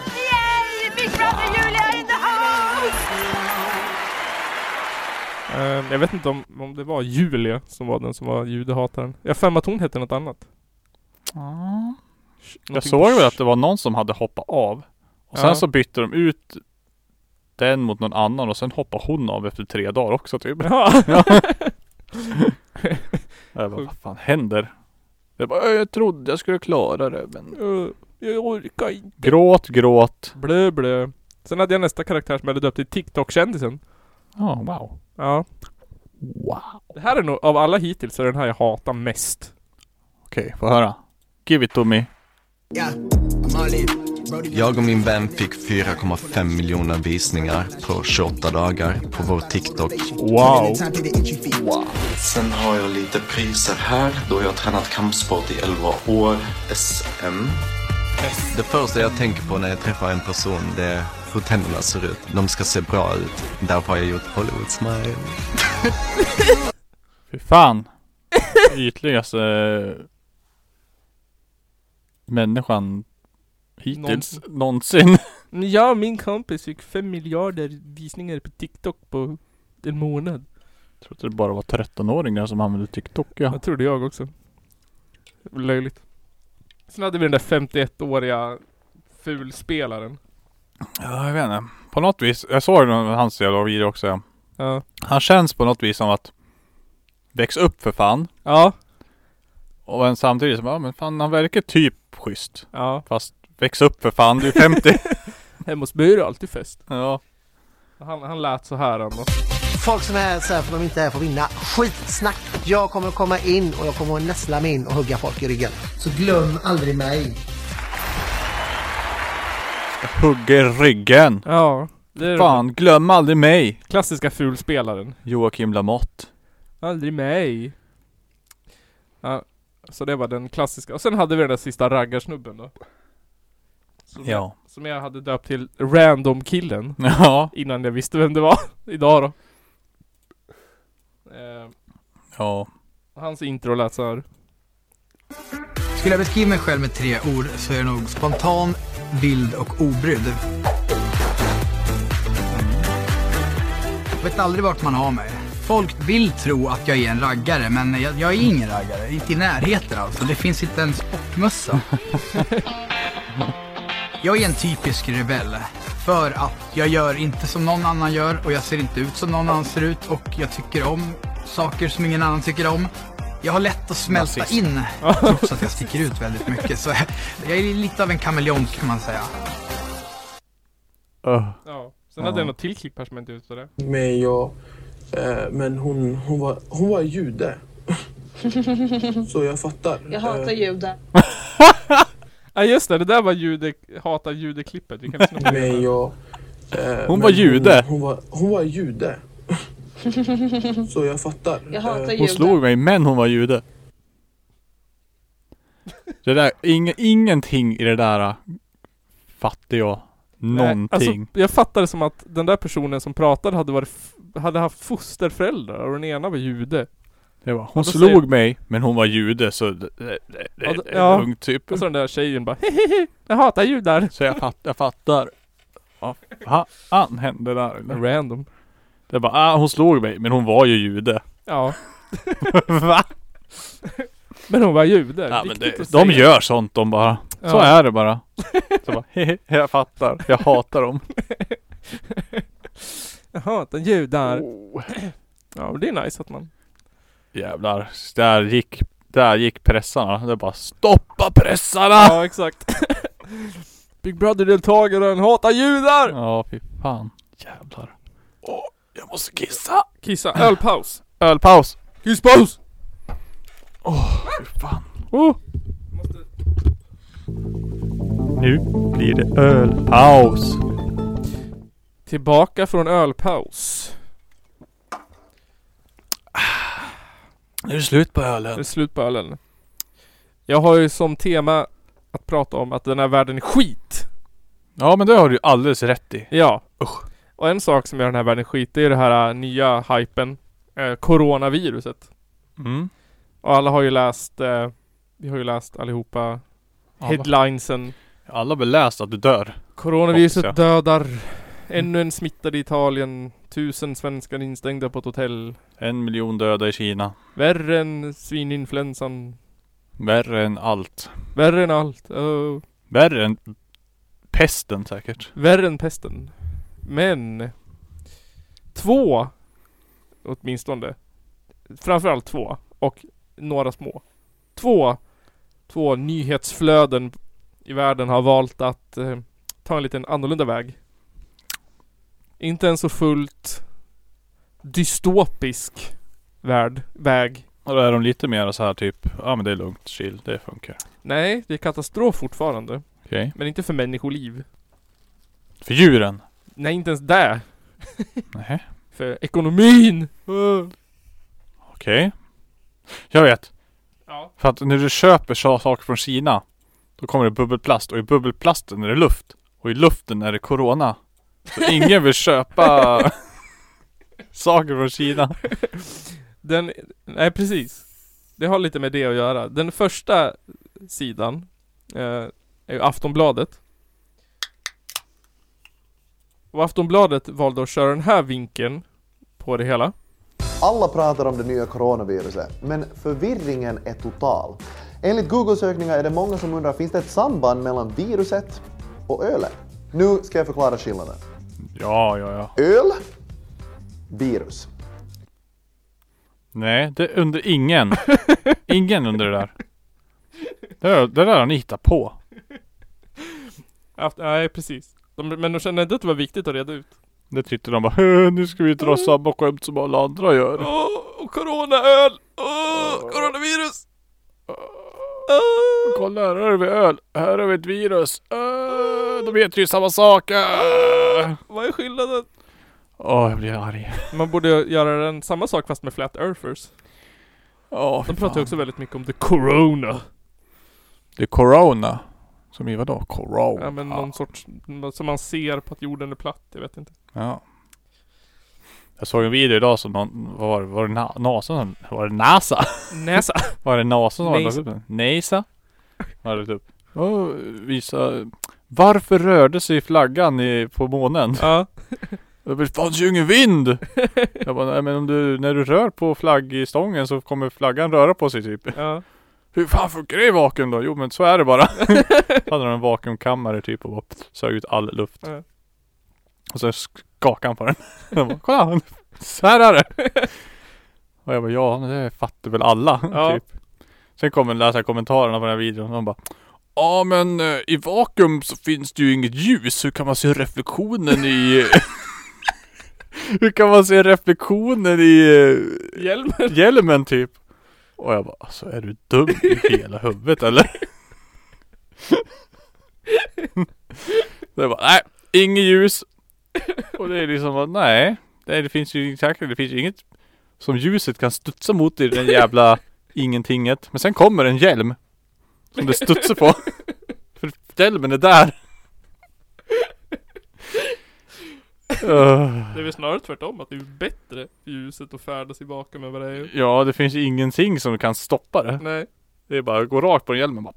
B: Ehm, jag vet inte om, om det var Julia som var den som var judehataren. Jag har för mig att hon hette något annat. Sh-
C: Jag
B: någonting
C: såg
B: på
C: väl
B: sh-
C: att det var någon som hade hoppat av. Och
B: Ja.
C: sen så bytte de ut den mot någon annan och sen hoppade hon av efter tre dagar också typ.
B: Ja.
C: Jag bara, vad fan händer? Jag bara, "Äh, jag trodde jag skulle klara det men...
B: Eh, jag orkar inte.
C: Gråt, gråt.
B: Blö, blö. Sen hade jag nästa karaktär som jag hade döpt till TikTok-kändisen.
C: Ja, wow.
B: Ja.
C: Wow.
B: Det här är nog, av alla hittills, så är den här jag hatar mest.
C: Okej, få höra. Give it to me.
H: Jag och min vän fick 4,5 miljoner visningar på 28 dagar på vår TikTok.
C: Wow.
H: Sen har jag lite priser här då jag har tränat kampsport i 11 år. SM. Det första jag tänker på när jag träffar en person det är hur tänderna ser ut. De ska se bra ut. Därför har jag gjort Hollywood smile.
C: Fy fan. Ytligaste eh, människan hittills någonsin.
B: Ja, min kompis fick fem miljarder visningar på TikTok på en månad.
C: Jag trodde det bara var 13-åringar som använde TikTok ja.
B: Jag trodde jag också. Löjligt. Sen hade vi den där 51-åriga fulspelaren.
C: Ja, jag vet inte. På något vis. Jag såg någon- hans jävla video också ja.
B: Ja.
C: Han känns på något vis som att väx upp för fan.
B: Ja.
C: Och men samtidigt som, ja men fan han verkar typ schysst.
B: Ja.
C: Fast väx upp för fan, du är 50.
B: Hemma hos mig är det alltid fest.
C: ja.
B: Han, han lät så här han då.
I: Folk som är här så här för de inte är här för att vinna. Skitsnack! Jag kommer komma in och jag kommer att näsla mig in och hugga folk i ryggen. Så glöm aldrig mig.
C: Hugger ryggen.
B: Ja. Det är den
C: Fan, glöm aldrig mig.
B: klassiska fulspelaren.
C: Joakim Lamotte.
B: Aldrig mig. Ja, så det var den klassiska. Och sen hade vi den där sista raggarsnubben då. Som,
C: Ja.
B: jag, som jag hade döpt till Random killen.
C: Ja.
B: Innan jag visste vem det var. Idag då. Eh,
C: Ja.
B: hans intro lät så här.
J: Skulle jag beskriva mig själv med tre ord så är det nog spontan, vild och obrydd. Jag vet aldrig vart man har mig. Folk vill tro att jag är en raggare, men jag, jag är ingen raggare. Inte i närheten alltså. Det finns inte en sportmössa. Jag är en typisk rebell. För att jag gör inte som någon annan gör och jag ser inte ut som någon annan ser ut och jag tycker om saker som ingen annan tycker om. Jag har lätt att smälta
C: Nazist.
J: in trots att jag sticker ut väldigt mycket. Så jag är lite av en kameleont kan man säga.
C: Öh.
B: Ja. Sen hade jag något till klipp här som jag inte visste det.
K: mig och... Eh, men hon, hon, var, hon var jude. Så jag fattar. Jag hatar eh,
B: Ja just det, det där var jude, hata jude-klippet. Vi kan lyssna på det.
K: mig och... Eh,
C: Hon
K: men
C: var jude.
K: Hon, hon, var, hon var jude. Så jag fattar. Eh, Jag hatar
C: Hon slog mig men hon var jude. Det där, ing, ingenting i det där äh, fattar jag.
B: Nej,
C: Någonting.
B: Alltså, jag fattade som att den där personen som pratade hade varit f- hade haft fosterföräldrar och den ena var jude.
C: det var,
B: då
C: hon slog
B: säger-
C: mig men hon var jude så det, det, det, det,
B: Ja, ja.
C: det
B: Alltså-
C: är lugnt typ.
B: Och så den där tjejen bara hehehe, jag hatar judar.
C: Så jag, fatt, jag fattar. Vad fan hände där? eller?
B: Random.
C: Det bara, ah, hon slog mig men hon var ju jude.
B: Ja.
C: Va?
B: Men hon var jude.
C: Ja, men
B: Viktigt
C: det,
B: att
C: de
B: se.
C: gör sånt de bara. Så
B: Ja.
C: är det bara. Så bara, hehe, jag fattar. Jag hatar dem.
B: Jag hatar judar.
C: Oh.
B: Ja men det är nice att man...
C: Jävlar, där gick, Ah. där gick pressarna. Det bara stoppa pressarna!
B: Ja exakt. Big Brother-deltagaren hatar judar!
C: Ja, fy fan. Jävlar.
B: Jag måste kissa! Kissa, ölpaus!
C: Ah. Ölpaus!
B: Kisspaus! Åh,
C: Nu blir det ölpaus.
B: Tillbaka från ölpaus.
C: Nu är det slut på ölen.
B: Det är slut på ölen. Jag har ju som tema att prata om att den här världen är skit.
C: Ja men det har du alldeles rätt i.
B: Ja. Och en sak som gör den här världen skit, det är det här äh, nya hypen. Eh, coronaviruset.
C: Mm.
B: Och alla har ju läst, eh, vi har ju läst allihopa
C: Alla.
B: headlinesen.
C: Alla har väl läst att du dör?
B: Coronaviruset
C: Hoppas jag. Mm.
B: dödar. Ännu en smittad i Italien. Tusen svenskar instängda på ett hotell.
C: En miljon döda i Kina.
B: Värre än svininfluensan.
C: Värre än allt.
B: Värre än allt. Öh.
C: Värre än pesten säkert.
B: Värre än pesten. Men två, åtminstone. Framförallt två och några små. Två, två nyhetsflöden i världen har valt att eh, ta en liten annorlunda väg. Inte en så fullt dystopisk värld, väg.
C: Och då är de lite mer så här typ, ja men det är lugnt, chill, det funkar.
B: Nej, det är katastrof fortfarande.
C: Okej.
B: Men inte för människoliv.
C: För djuren?
B: Nej, inte ens där.
C: Nej.
B: För ekonomin! Öh.
C: Okej. Jag vet.
B: Ja.
C: För att när du köper så- saker från Kina, då kommer det bubbelplast och i bubbelplasten är det luft. Och i luften är det corona. Så ingen vill köpa saker från Kina.
B: Den, nej precis. Det har lite med det att göra. Den första sidan eh, är ju Aftonbladet. Och Aftonbladet valde att köra den här vinkeln på det hela.
L: Alla pratar om det nya coronaviruset, men förvirringen är total. Enligt Google-sökningar är det många som undrar finns det ett samband mellan viruset och ölen? Nu ska jag förklara skillnaden.
C: Ja, ja, ja.
L: Öl, virus.
C: Nej, det är under ingen. Ingen under det där. Det där, det där har ni hittat på.
B: Aft- nej precis. De, men de kände inte att det var viktigt att reda ut.
C: Det tyckte de bara "Hö, nu ska vi dra samma skämt som alla andra gör.
B: Mm. Åh, och coronaöl! Åh, coronavirus!
C: Kolla här har vi öl, här har vi ett virus. Äh, de heter ju samma sak. Äh.
B: Vad är skillnaden?
C: Åh, jag blir arg.
B: Man borde göra den, samma sak fast med flat earthers.
C: Ja,
B: De pratar ju också väldigt mycket om the corona.
C: Det är corona. Som i vadå? Corona?
B: Ja men någon sorts, som man ser på att jorden är platt, jag vet inte.
C: Ja. Jag såg en video idag som någon, vad var det, var det Na- NASA som, var det NASA?
B: Näsa.
C: Var det NASA som hade lagt
B: NASA.
C: upp den? NASA? Har lagt upp. Oh, visa. Varför rörde sig flaggan i, på månen?
B: Ja.
C: Det fanns ju ingen vind! Jag bara, nej men om du, när du rör på flaggstången så kommer flaggan röra på sig typ.
B: Ja.
C: Hur fan funkar det i vakuum då? Jo men så är det bara. hade de en vakuumkammare typ och bara sög ut all luft.
B: Ja.
C: Och sen skakade han på den. Jag bara, kolla! Så här är det! Och jag bara, ja men det fattar väl alla.
B: Ja.
C: Typ. Sen kommer läsa kommentarerna på den här videon och de bara Ja men eh, i vakuum så finns det ju inget ljus, hur kan man se reflektionen i... hur kan man se reflektionen i... eh,
B: Hjälmen.
C: Hjälmen typ. Och jag bara alltså är du dum i hela huvudet eller? Så jag bara nej, inget ljus. Och det är liksom bara, nej. Nej det finns ju exakt, det finns ju inget som ljuset kan studsa mot i den jävla ingentinget. Men sen kommer en hjälm. Som det studsar på. För hjälmen är där. Öh.
B: Det är väl snarare tvärtom, att det är ju bättre för ljuset att färdas i vakuum än vad det är.
C: Ja, det finns ingenting som kan stoppa det.
B: Nej.
C: Det är bara att gå rakt på den hjälmen bara.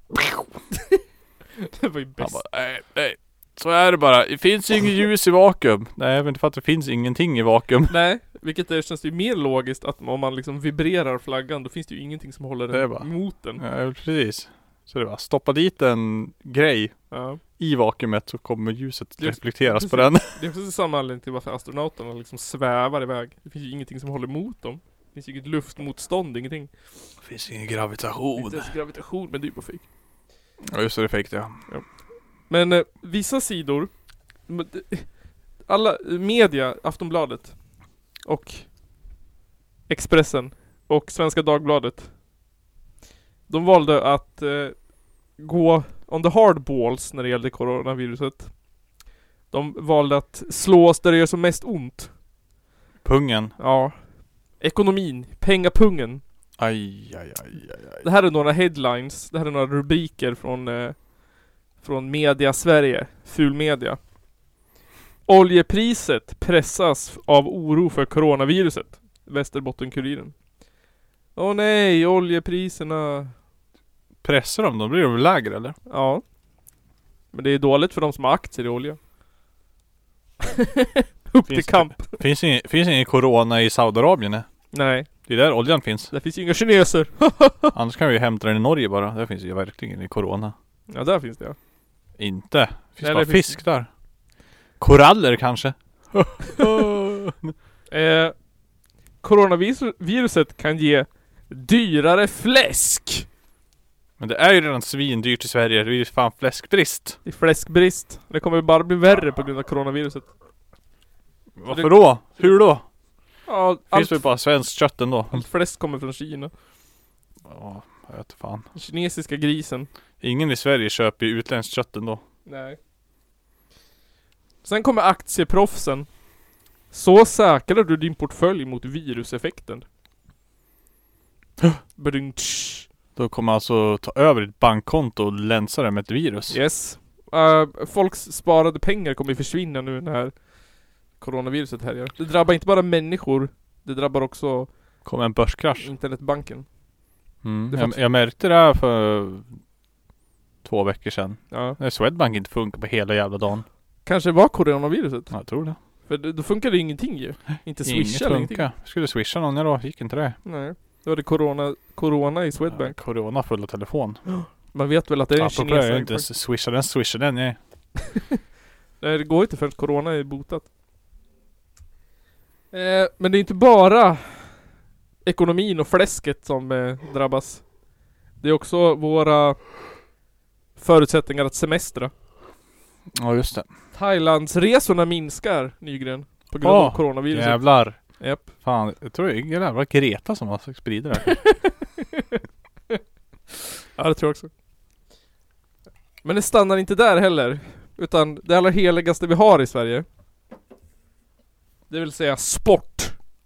B: Det var ju bäst.
C: Han bara, nej, nej. Så är det bara. Det finns ju inget ljus i vakuum. Nej, men det är för att det finns ingenting i vakuum.
B: Nej, vilket är, känns ju mer logiskt att om man liksom vibrerar flaggan, då finns det ju ingenting som håller
C: Det är
B: den
C: bara-
B: mot den.
C: Ja, precis. Så det är bara stoppa dit en grej
B: Ja.
C: i vakuumet så kommer ljuset
B: Just-
C: reflekteras på den.
B: precis. Det är också samma anledning till varför astronauterna liksom svävar iväg. Det finns ju ingenting som håller emot dem. Det finns ju inget luftmotstånd, ingenting.
C: Det finns ingen gravitation.
B: Inte ens gravitation, men det är ju bara fejk.
C: Ja, just det, det fick det.
B: Ja. Men eh, vissa sidor, m- d- alla media, Aftonbladet och Expressen och Svenska Dagbladet. De valde att eh, gå on the hard balls när det gällde coronaviruset. De valde att slå oss där det gör som mest ont.
C: Pungen.
B: Ja. Ekonomin, pengapungen.
C: Aj, aj, aj, aj, aj.
B: Det här är några headlines, det här är några rubriker från, eh, från media Sverige, ful media. Oljepriset pressas av oro för coronaviruset. Västerbottenkuriren. Åh nej, oljepriserna.
C: Pressar de dem? Blir de lägre eller?
B: Ja. Men det är dåligt för de som har aktier i olja. Upp till kamp.
C: Finns ingen, finns ingen corona i Saudiarabien? nej?
B: Nej.
C: Det är där oljan finns.
B: Där finns ju inga kineser.
C: Annars kan vi ju hämta den i Norge bara. Där finns ju verkligen i corona.
B: Ja, där finns det ja.
C: Inte. Finns
B: Nej,
C: bara
B: det finns
C: fisk där. Koraller kanske?
B: eh, coronaviruset kan ge dyrare fläsk.
C: Men det är ju redan svindyrt i Sverige. Det är ju fan fläskbrist.
B: Det är fläskbrist. Det kommer bara bli värre på grund av coronaviruset.
C: Varför då? Hur då?
B: Ja,
C: Finns
B: allt,
C: väl bara svenskt kött ändå?
B: allt fläsk kommer från Kina.
C: Ja, jag vet fan.
B: Den kinesiska grisen.
C: Ingen i Sverige köper ju utländskt kött ändå.
B: Nej. Sen kommer aktieproffsen. Så säkrar du din portfölj mot viruseffekten. Badung, tsch.
C: Då kommer alltså ta över ditt bankkonto och länsa det med ett virus.
B: Yes. Eh, folks sparade pengar kommer ju försvinna nu när coronaviruset härjar. Det drabbar inte bara människor. Det drabbar också
C: Kommer en börskrasch.
B: internetbanken.
C: Mm.
B: Det
C: Jag,
B: fattar-
C: jag märkte det här för två veckor sedan.
B: Ja.
C: När Swedbank inte funkar på hela jävla dagen.
B: Kanske var coronaviruset?
C: Jag tror det.
B: För det- då funkade ju ingenting ju. Inte swisha eller
C: Inget
B: ingenting.
C: funkar. Skulle swisha någon, ja då gick inte det.
B: Nej. Då var det corona, corona i Swedbank.
C: Corona fulla telefon.
B: Man vet väl att det är en
C: Apropå det, jag
B: kines.
C: inte ens swisha den, swisha den. Nej.
B: Nej det går inte förrän corona är botat. Eh, men det är inte bara ekonomin och fläsket som eh, drabbas. Det är också våra förutsättningar att semestra.
C: Ja just det.
B: Thailandsresorna minskar Nygren. På grund av
C: Åh,
B: coronaviruset.
C: Ah, Jävlar.
B: Japp.
C: Fan, jag tror det är jävla Greta som har spridit det här.
B: Ja det tror jag också. Men det stannar inte där heller. Utan det allra heligaste vi har i Sverige. Det vill säga sport.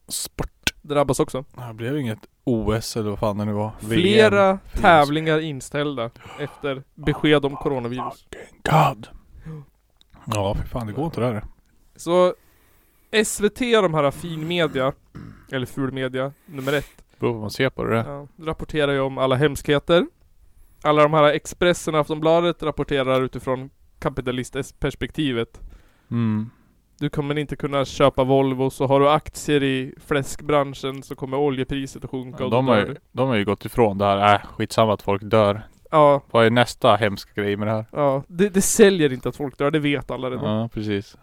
C: Sport.
B: Drabbas också.
C: Det här blev inget OS eller vad fan det nu var.
B: Flera
C: VM.
B: tävlingar inställda efter besked om coronavirus.
C: God. Ja, för fan det går inte det här.
B: Så SVT de här finmedia, eller fulmedia, nummer ett.
C: Beror på vad man ser på det.
B: Ja, rapporterar ju om alla hemskheter. Alla de här Expressen och Aftonbladet rapporterar utifrån kapitalistperspektivet.
C: Mm.
B: Du kommer inte kunna köpa Volvo, så har du aktier i fläskbranschen så kommer oljepriset att sjunka och
C: De
B: då
C: har,
B: dör
C: ju,
B: du.
C: de har ju gått ifrån det här, äh, skitsamma att folk dör.
B: Ja.
C: Vad är nästa hemska grej med det här?
B: Ja, det, det säljer inte att folk dör, det vet alla redan.
C: Ja, precis.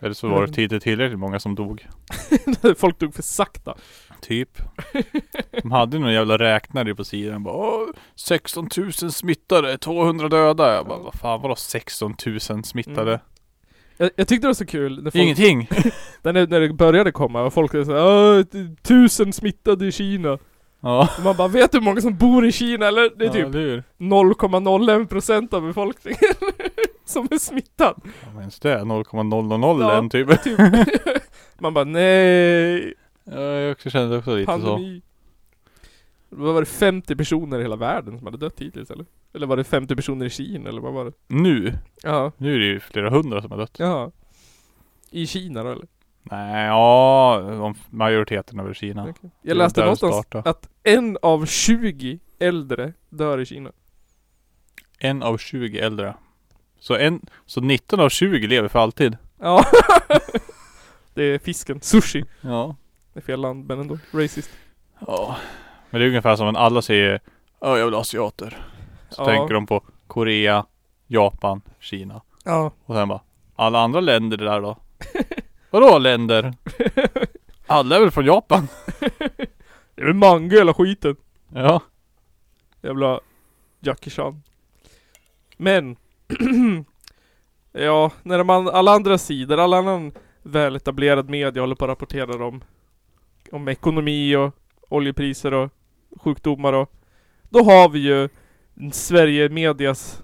C: Eller så var det tidigt tillräckligt många som dog.
B: Folk dog för sakta.
C: Typ. De hade ju någon jävla räknare på sidan bara "Åh, 16 000 smittade, 200 döda. Jag bara, vad fan vadå 16 000 smittade?
B: Mm. Jag, jag tyckte det var så kul. när
C: Ingenting.
B: när, det, när det började komma och folk sa tusen smittade i Kina.
C: Ja.
B: Och man bara, vet du hur många som bor i Kina eller? Det är
C: Ja,
B: typ
C: det är ju-
B: 0,01% av befolkningen som är smittad.
C: Ja, men ens det, 0,001
B: Ja,
C: typ.
B: man bara, nej.
C: Ja, jag också kände också lite så.
B: Pandemi. Vad var det 50 personer i hela världen som hade dött hittills eller? Eller var det 50 personer i Kina eller vad var det?
C: Nu?
B: Ja.
C: Nu är det ju flera hundra som har dött.
B: Jaha. I Kina då eller?
C: Nej, ja, de, majoriteten över Kina. Det är
B: Jag läste
C: där det
B: någonstans
C: startar.
B: att en av 20 äldre dör i Kina.
C: En av 20 äldre. Så, en, så 19 av 20 lever för alltid.
B: Ja. det är fisken. Sushi.
C: Ja.
B: Det är fel land men ändå. Racist.
C: Ja. Men det är ungefär som när alla säger Ja, jag vill ha asiater. Så
B: Ja.
C: tänker de på Korea, Japan, Kina.
B: Ja.
C: Och sen bara Alla andra länder där då? Vadå länder? Alla är väl från Japan?
B: Det är väl manga hela skiten.
C: Ja.
B: Jävla Jackie Chan. Men Ja, när de an- alla andra sidor, all annan väletablerad media håller på att rapportera om, om ekonomi och oljepriser och sjukdomar och då har vi ju Sverige medias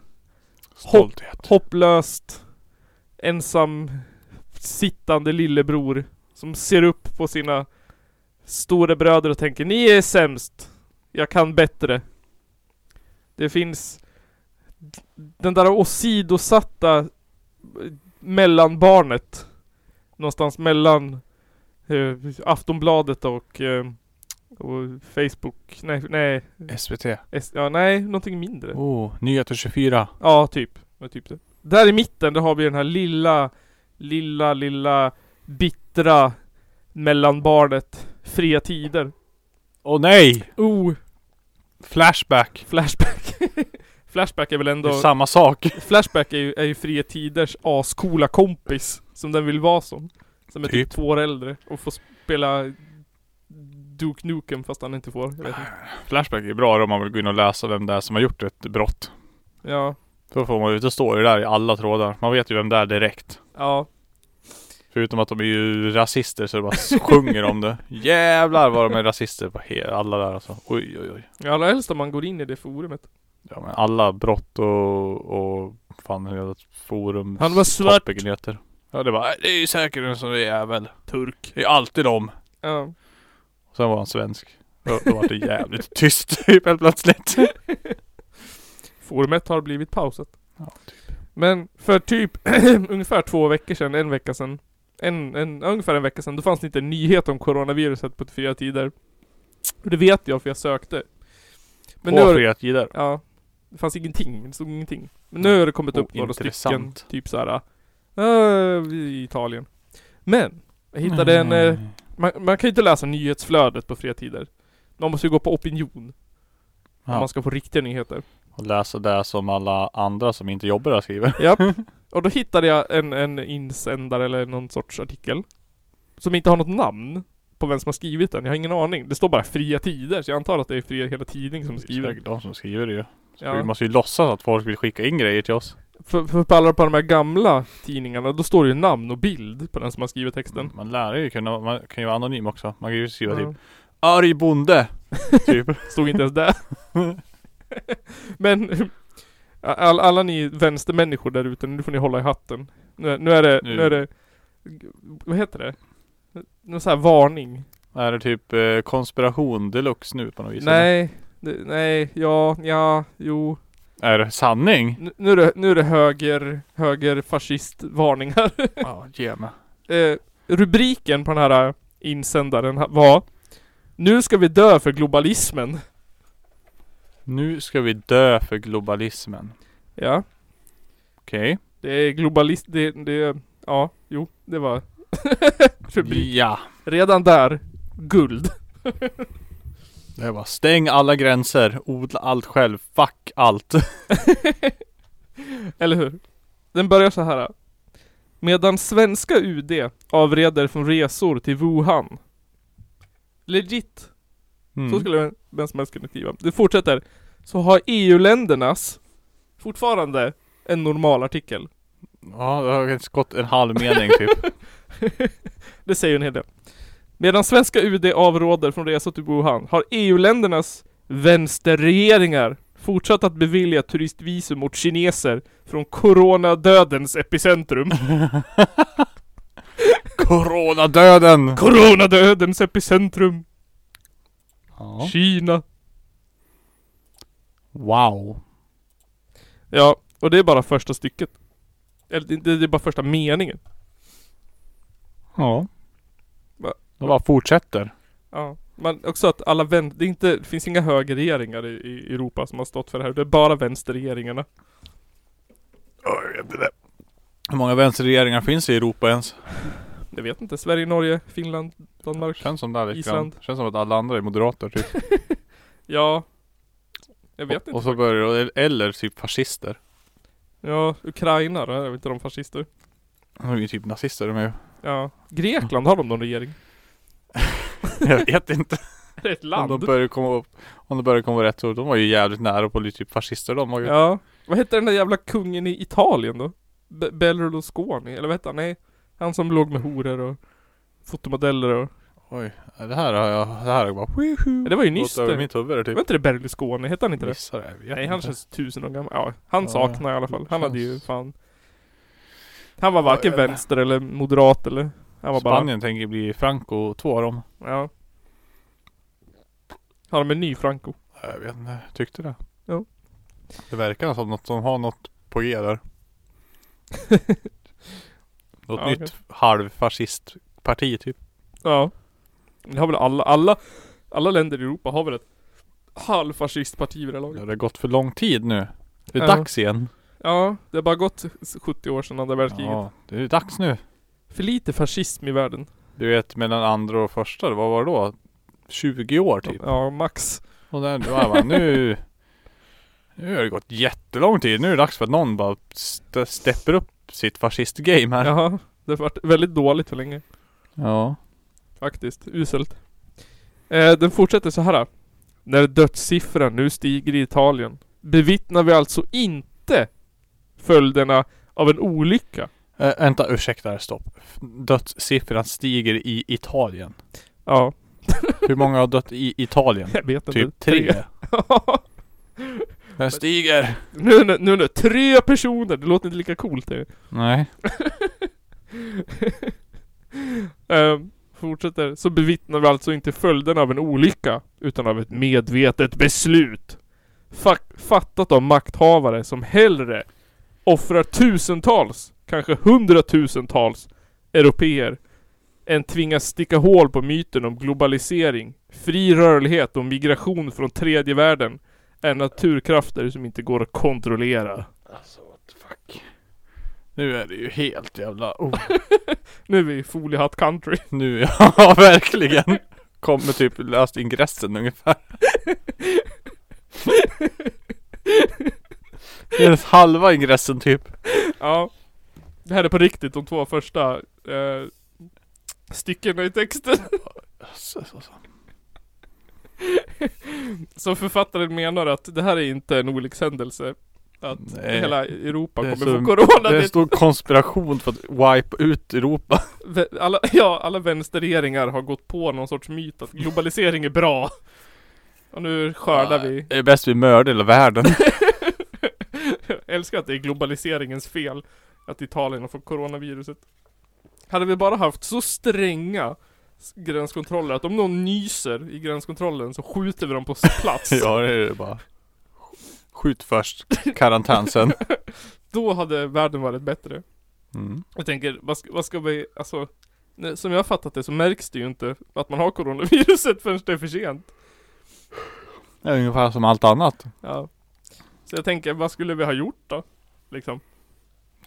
B: hopp, hopplöst ensam sittande lillebror som ser upp på sina stora bröder och tänker ni är sämst. Jag kan bättre. Det finns den där åsidosatta mellanbarnet. Någonstans mellan eh, Aftonbladet och, eh, och Facebook. Nej, nej.
C: SVT.
B: S- ja, nej, någonting mindre.
C: Oh, Nyheter 24.
B: Ja, typ. Ja, typ det. Där i mitten, där har vi den här lilla, lilla, lilla bittra mellanbarnet Fria Tider.
C: Åh nej!
B: Oh!
C: Flashback.
B: Flashback. Flashback är väl ändå...
C: Det är samma sak.
B: Flashback är ju, är ju Fria Tiders ascoola kompis, som den vill vara som. Som är typ,
C: Typ.
B: två år äldre och får spela Duke Nukem fast han inte får. Jag vet inte.
C: Flashback är bra om man vill gå in och läsa vem det är som har gjort ett brott.
B: Ja,
C: Då får man ju, då står det där i alla trådar. Man vet ju vem det är direkt.
B: ja.
C: Förutom att de är ju rasister så det bara sjunger om det. Jävlar vad de är rasister på he- alla där alltså. Oj oj oj.
B: Ja, Allra helst om man går in i det forumet.
C: Ja, men alla brott och, och fan hela forum.
B: Han var svart.
C: topiken heter. Ja det var "Äh, det är ju säkert en sån där jävel. Turk. Det är alltid dem.
B: Ja.
C: Och sen var han svensk. Då, då var det jävligt tyst typ helt plötsligt.
B: Forumet har blivit pausat. Men för typ ungefär två veckor sedan, en vecka sedan. En, en, ungefär en vecka sedan, då fanns det inte en nyhet om coronaviruset på fyra tider. Och det vet jag för jag sökte.
C: På
B: har-
C: Fria Tider?
B: Ja. Det fanns ingenting, det stod ingenting. Men nu har det kommit upp
C: Oh,
B: några
C: intressant.
B: stycken, typ såhär, äh, i Italien. Men, jag hittade en, eh,
C: Mm.
B: man, man kan ju inte läsa nyhetsflödet på fria tider. Man måste ju gå på opinion. Om
C: Ja.
B: man ska få riktiga nyheter.
C: Och läsa det som alla andra som inte jobbar där skriver.
B: Japp. Och då hittade jag en, en insändare eller någon sorts artikel. Som inte har något namn på vem som har skrivit den. Jag har ingen aning. Det står bara Fria Tider, så jag antar att det är Fria Hela Tidning som
C: Det är
B: skriver.
C: säkert de som skriver det ju. Så
B: Ja.
C: Vi måste ju låtsas att folk vill skicka in grejer till oss.
B: För, för på alla på de här gamla tidningarna, då står det ju namn och bild på den som har skrivit texten.
C: Man lär ju kunna, man kan ju vara anonym också. Man kan ju Mm. skriva
B: Ja.
C: typ Arg bonde! typ.
B: Stod inte ens där. Men all, alla ni vänstermänniskor där ute, nu får ni hålla i hatten. Nu, är- nu är det, nu.
C: Nu.
B: är det, vad heter det? Någon sån här varning.
C: Är det typ eh, konspiration deluxe nu på något vis?
B: Nej, det, nej, ja, ja, jo.
C: Eller? Är det sanning?
B: Nu, nu, är, det, nu är det höger, höger fascistvarningar.
C: Ja, ge mig.
B: eh, rubriken på den här eh, insändaren ha- var Nu ska vi dö för globalismen.
C: Nu ska vi dö för globalismen.
B: Ja,
C: Okej.
B: det är globalist, det, det, ja, jo, det var rubriken.
C: Ja.
B: Redan där, guld.
C: Det var stäng alla gränser, odla allt själv, fuck allt.
B: Eller hur? Den börjar så här. Medan svenska UD avreder från resor till Wuhan. Legit. Så
C: Mm.
B: skulle vem- vem som helst kunna skriva. Det fortsätter. Så har EU-ländernas fortfarande en normal artikel.
C: ja, det har inte gått en halv mening typ.
B: Det säger ju en hel del. Medan svenska UD avråder från resor till Wuhan har EU-ländernas vänsterregeringar fortsatt att bevilja turistvisum åt kineser från coronadödens epicentrum.
C: Coronadöden!
B: Coronadödens epicentrum.
C: Ja.
B: Kina.
C: Wow.
B: Ja, och det är bara första stycket. Eller det- det, det är bara första meningen.
C: Ja.
B: Va?
C: De bara fortsätter.
B: Ja. Men också att alla vän... Det, är inte, det finns inga högerregeringar i, i Europa som har stått för det här. Det är bara vänsterregeringarna.
C: Hur många vänsterregeringar finns i Europa ens?
B: Jag vet inte. Sverige, Norge, Finland, Danmark.
C: Känns som det här lite grann.
B: Island.
C: Känns som att alla andra är moderater typ.
B: Ja. Jag vet
C: Och
B: inte.
C: så börjar det, eller typ fascister.
B: Ja, Ukraina då. Är väl inte de fascister?
C: De är ju typ nazister de är ju.
B: Ja. Grekland, har de någon regering?
C: Jag vet inte.
B: Är det ett
C: Om de
B: land?
C: börjar komma upp. Om de börjar komma rätt så de var ju jävligt nära på att bli typ fascister de var ju.
B: Ja. Vad hette den där jävla kungen i Italien då? Be- Berlusconi, eller vad hette han? Nej, han som låg med horor och fotomodeller och...
C: Oj, det här har jag, det här har bara...
B: Ja, Det var ju nyss
C: Gått över
B: det.
C: mitt huvud där, typ.
B: Var inte det Berlusconi? Hette han inte det?
C: Missar det, jag vet
B: Nej, han
C: inte.
B: känns tusen år gammal. Ja, han
C: Ja,
B: saknar jag i alla fall. Han hade ju
C: känns-
B: fan... Han var varken
C: Ja, jag-
B: vänster eller moderat eller... Han var
C: Spanien tänker bli Franco, två av dem.
B: bara... Ja. Har de en ny Franco?
C: Jag vet inte, tyckte det.
B: Ja.
C: Det verkar som något som har något på G där. något
B: Ja,
C: nytt
B: okej.
C: halvfascistparti typ.
B: Ja. Det har väl alla, alla, alla länder i Europa har väl ett halvfascistparti vid det här
C: Ja,
B: laget.
C: det har gått för lång tid nu. Det är
B: Ja.
C: dags igen.
B: Ja, det har bara gått 70 år sedan andra världskriget.
C: Ja, det är dags nu.
B: För lite fascism i världen.
C: Du vet mellan andra och första, vad var det då? 20 år typ.
B: Ja, max.
C: Och där, då är man nu... Nu har det gått jättelång tid. Nu är det dags för att någon bara st- steppar upp sitt fascistgame här.
B: Ja, det har varit väldigt dåligt för länge.
C: Ja.
B: Faktiskt, uselt. Eh, den fortsätter så här. När dödssiffran nu stiger i Italien bevittnar vi alltså inte följderna av en olycka.
C: Äh, vänta, ursäkta, stopp. Dödssiffran stiger i Italien.
B: Ja.
C: Hur många har dött i Italien?
B: Jag vet inte.
C: Typ tre.
B: Tre.
C: Den stiger.
B: Nu, nu, nu, nu, tre personer! Det låter inte lika coolt det.
C: Nej.
B: Ehm, fortsätter. Så bevittnar vi alltså inte följden av en olycka, utan av ett medvetet beslut. Fa- fattat av makthavare som hellre offrar tusentals, kanske hundratusentals europeer än tvingas sticka hål på myten om globalisering, fri rörlighet och migration från tredje världen än naturkrafter som inte går att kontrollera.
C: Nu är det ju helt jävla... Oh.
B: Nu är vi i foliehatt country.
C: Nu, ja verkligen. Kommer typ löst ingressen ungefär. Det är halva ingressen typ.
B: Ja. Det här är på riktigt de två första eh, styckena i texten. Så författaren menar att det här är inte en olyckshändelse. Att
C: Nej.
B: hela Europa
C: Det är
B: kommer
C: så-
B: få corona.
C: Det är
B: Det
C: en stor konspiration för att wipe ut Europa.
B: vä- alla, ja, alla vänsterregeringar har gått på någon sorts myt att globalisering är bra. Och nu skördar vi.
C: Det är bäst vi mördar hela världen.
B: älskar att det är globaliseringens fel att Italien har fått coronaviruset. Hade vi bara haft så stränga s- gränskontroller att om någon nyser i gränskontrollen så skjuter vi dem på plats.
C: ja det är det bara. Skjut först, karantän sen.
B: Då hade världen varit bättre.
C: Mm.
B: Jag tänker, vad ska, vad ska vi, alltså nej, Som jag har fattat det så märks det ju inte att man har coronaviruset förrän det är för sent.
C: Det är ungefär som allt annat.
B: Ja. Så jag tänker, vad skulle vi ha gjort då? Liksom.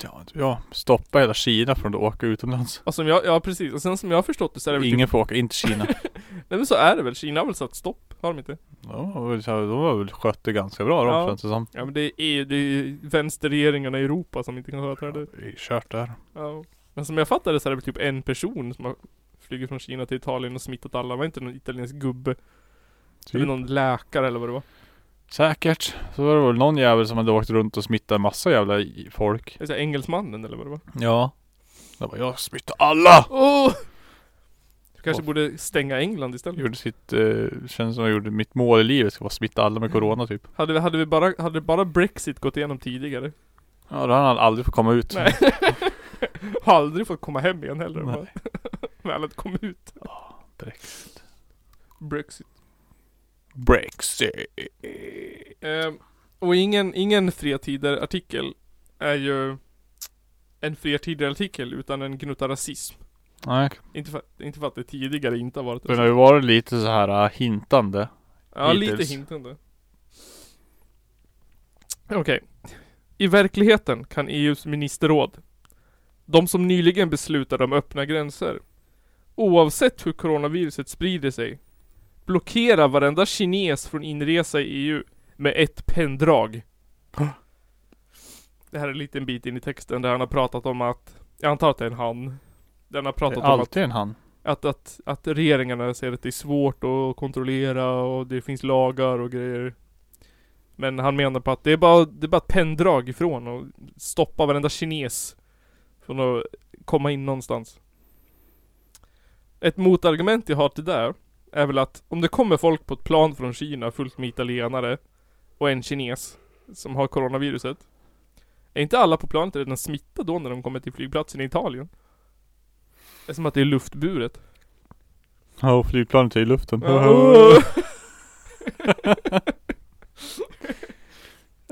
C: Ja, ja. Stoppa hela Kina från att åka utomlands.
B: Och som jag, ja precis. Och sen som jag har förstått det så är det väl
C: Ingen får åka in till Kina.
B: typ, Nej men så är det väl. Kina har väl satt stopp? Har de inte?
C: De har väl, de har väl skött det ganska bra de känns det som.
B: Ja men det är EU, det är ju vänsterregeringarna i Europa som inte kan sköta det.
C: Det är kört där.
B: Ja. Men som jag fattar det så är det väl typ en person som har flugit från Kina till Italien och smittat alla. Var inte någon italiensk gubbe?
C: Typ.
B: Eller någon läkare eller vad det var.
C: Säkert. Så var det väl någon jävel som hade åkt runt och smittat massa jävla i- folk.
B: Alltså engelsmannen eller vad det var.
C: Ja. Jag bara, jag smittar alla!
B: Åh! Du kanske borde stänga England istället.
C: Gjorde sitt, eh, känns som jag gjorde mitt mål i livet, ska vara att smitta alla
B: Mm.
C: med corona typ.
B: Hade, vi, hade, vi bara, hade bara Brexit gått igenom tidigare?
C: Ja, då hade han aldrig fått komma ut.
B: Nej. Har aldrig fått komma hem igen heller. om
C: Nej.
B: man Väl att kom ut.
C: Brexit.
B: Brexit.
C: Brexit.
B: Ehm, och ingen, ingen Fredtider-artikel är ju en Fredtider-artikel utan en gnutta rasism.
C: Nej.
B: Inte för, inte för att det tidigare inte har varit det.
C: Den har ju varit lite så här eh, hintande.
B: Ja,
C: hittills.
B: lite hintande. Okej. I verkligheten kan EUs ministerråd, de som nyligen beslutade om öppna gränser, oavsett hur coronaviruset sprider sig, blockera varenda kines från inresa i EU med ett penndrag. Det här är en liten bit in i texten där han har pratat om att, jag antar att det är en han, där han har pratat
C: Det
B: om
C: är
B: att
C: alltid en han.
B: att, att, att regeringarna säger att det är svårt att kontrollera och det finns lagar och grejer. Men han menar på att det är bara, det är bara ett penndrag ifrån och stoppa varenda kines från att komma in någonstans. Ett motargument jag har till det är väl att om det kommer folk på ett plan från Kina fullt med italienare och en kines som har coronaviruset. Är inte alla på planet redan smittade då när de kommer till flygplatsen i Italien? Det är som att det är luftburet.
C: Ja, och flygplanet är i luften.
B: Ja.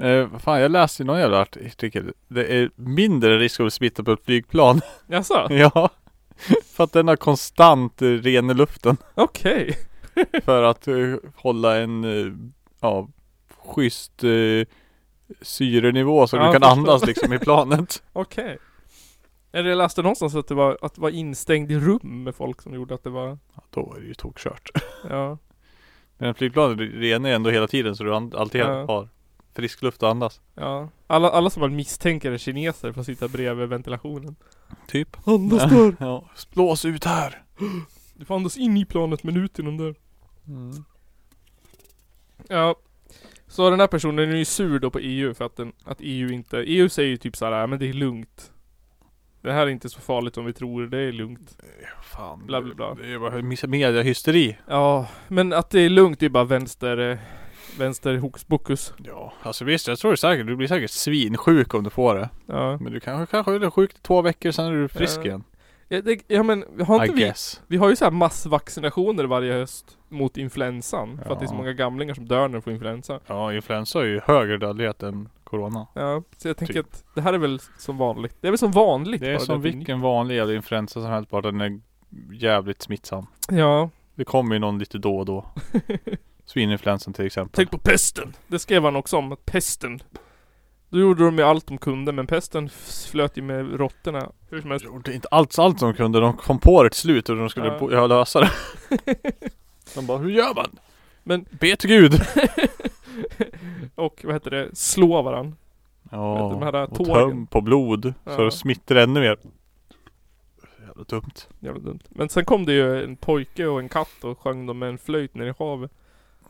C: Eh, vad fan, jag läste i någon jävla artikel. Det är mindre risk att bli smittad på ett flygplan.
B: Jaså?
C: ja. För att den har konstant eh, ren i luften.
B: Okej.
C: För att eh, hålla en, eh, ja, schysst eh, syrenivå så
B: Ja,
C: du kan
B: jag
C: andas
B: förstår.
C: liksom i planet.
B: Okej. Eller jag läste någonstans att det var, att vara instängd i rum med folk som gjorde att det var...
C: Då är det ju tokkört.
B: Ja.
C: Men flygplanet renar ju ändå hela tiden så du and- alltid
B: Ja.
C: har frisk luft att andas.
B: Ja. Alla, alla som man misstänker är kineser får sitta bredvid ventilationen.
C: Typ.
B: Andas där.
C: Ja. Blås ut här.
B: Du får andas in i planet men ut genom där. Mm. Ja. Så den här personen är ju sur då på EU för att, den, att EU inte... EU säger ju typ såhär, "Äh, men det är lugnt. Det här är inte så farligt som vi tror, det är lugnt.
C: Fan.
B: Bla bla bla.
C: Det är bara mis- mediehysteri.
B: Ja, men att det är lugnt det är ju bara vänster... eh, Vänster hokuspokus.
C: Ja. Alltså visst, jag tror säkert, du blir säkert svinsjuk om du får det.
B: Ja.
C: Men du kanske, kanske är sjuk i två veckor, sen är du frisk
B: Ja.
C: igen.
B: Ja, det, ja men Eh, har
C: I
B: inte vi,
C: guess.
B: vi har ju så här massvaccinationer varje höst mot influensan. För att det är så
C: Ja.
B: många gamlingar som dör när de får influensa.
C: Ja, influensa är ju högre dödlighet än corona.
B: Ja, så jag tänker
C: Typ.
B: att det här är väl som vanligt. Det är väl som vanligt
C: Det är
B: bara
C: som
B: att det är
C: vilken vanlig jävla influensa som helst, bara den är jävligt smittsam.
B: Ja.
C: Det kommer ju någon lite då och då. Svininfluensan till exempel.
B: Tänk på pesten! Det skrev han också om, att pesten. Då gjorde de ju allt de kunde men pesten f- flöt ju med råttorna. Hur som helst.
C: gjorde inte allt, allt de kunde. De kom på det till slut och de skulle
B: Ja.
C: bo- ja. lösa det. de bara, hur gör man?
B: Men...
C: Be till gud!
B: och vad heter det? Slå varann.
C: Ja,
B: de här
C: och
B: tågen.
C: töm på blod.
B: Ja.
C: Så det smittar ännu mer. Jävla dumt.
B: Jävla dumt. Men sen kom det ju en pojke och en katt och sjöng dem med en flöjt nere i havet.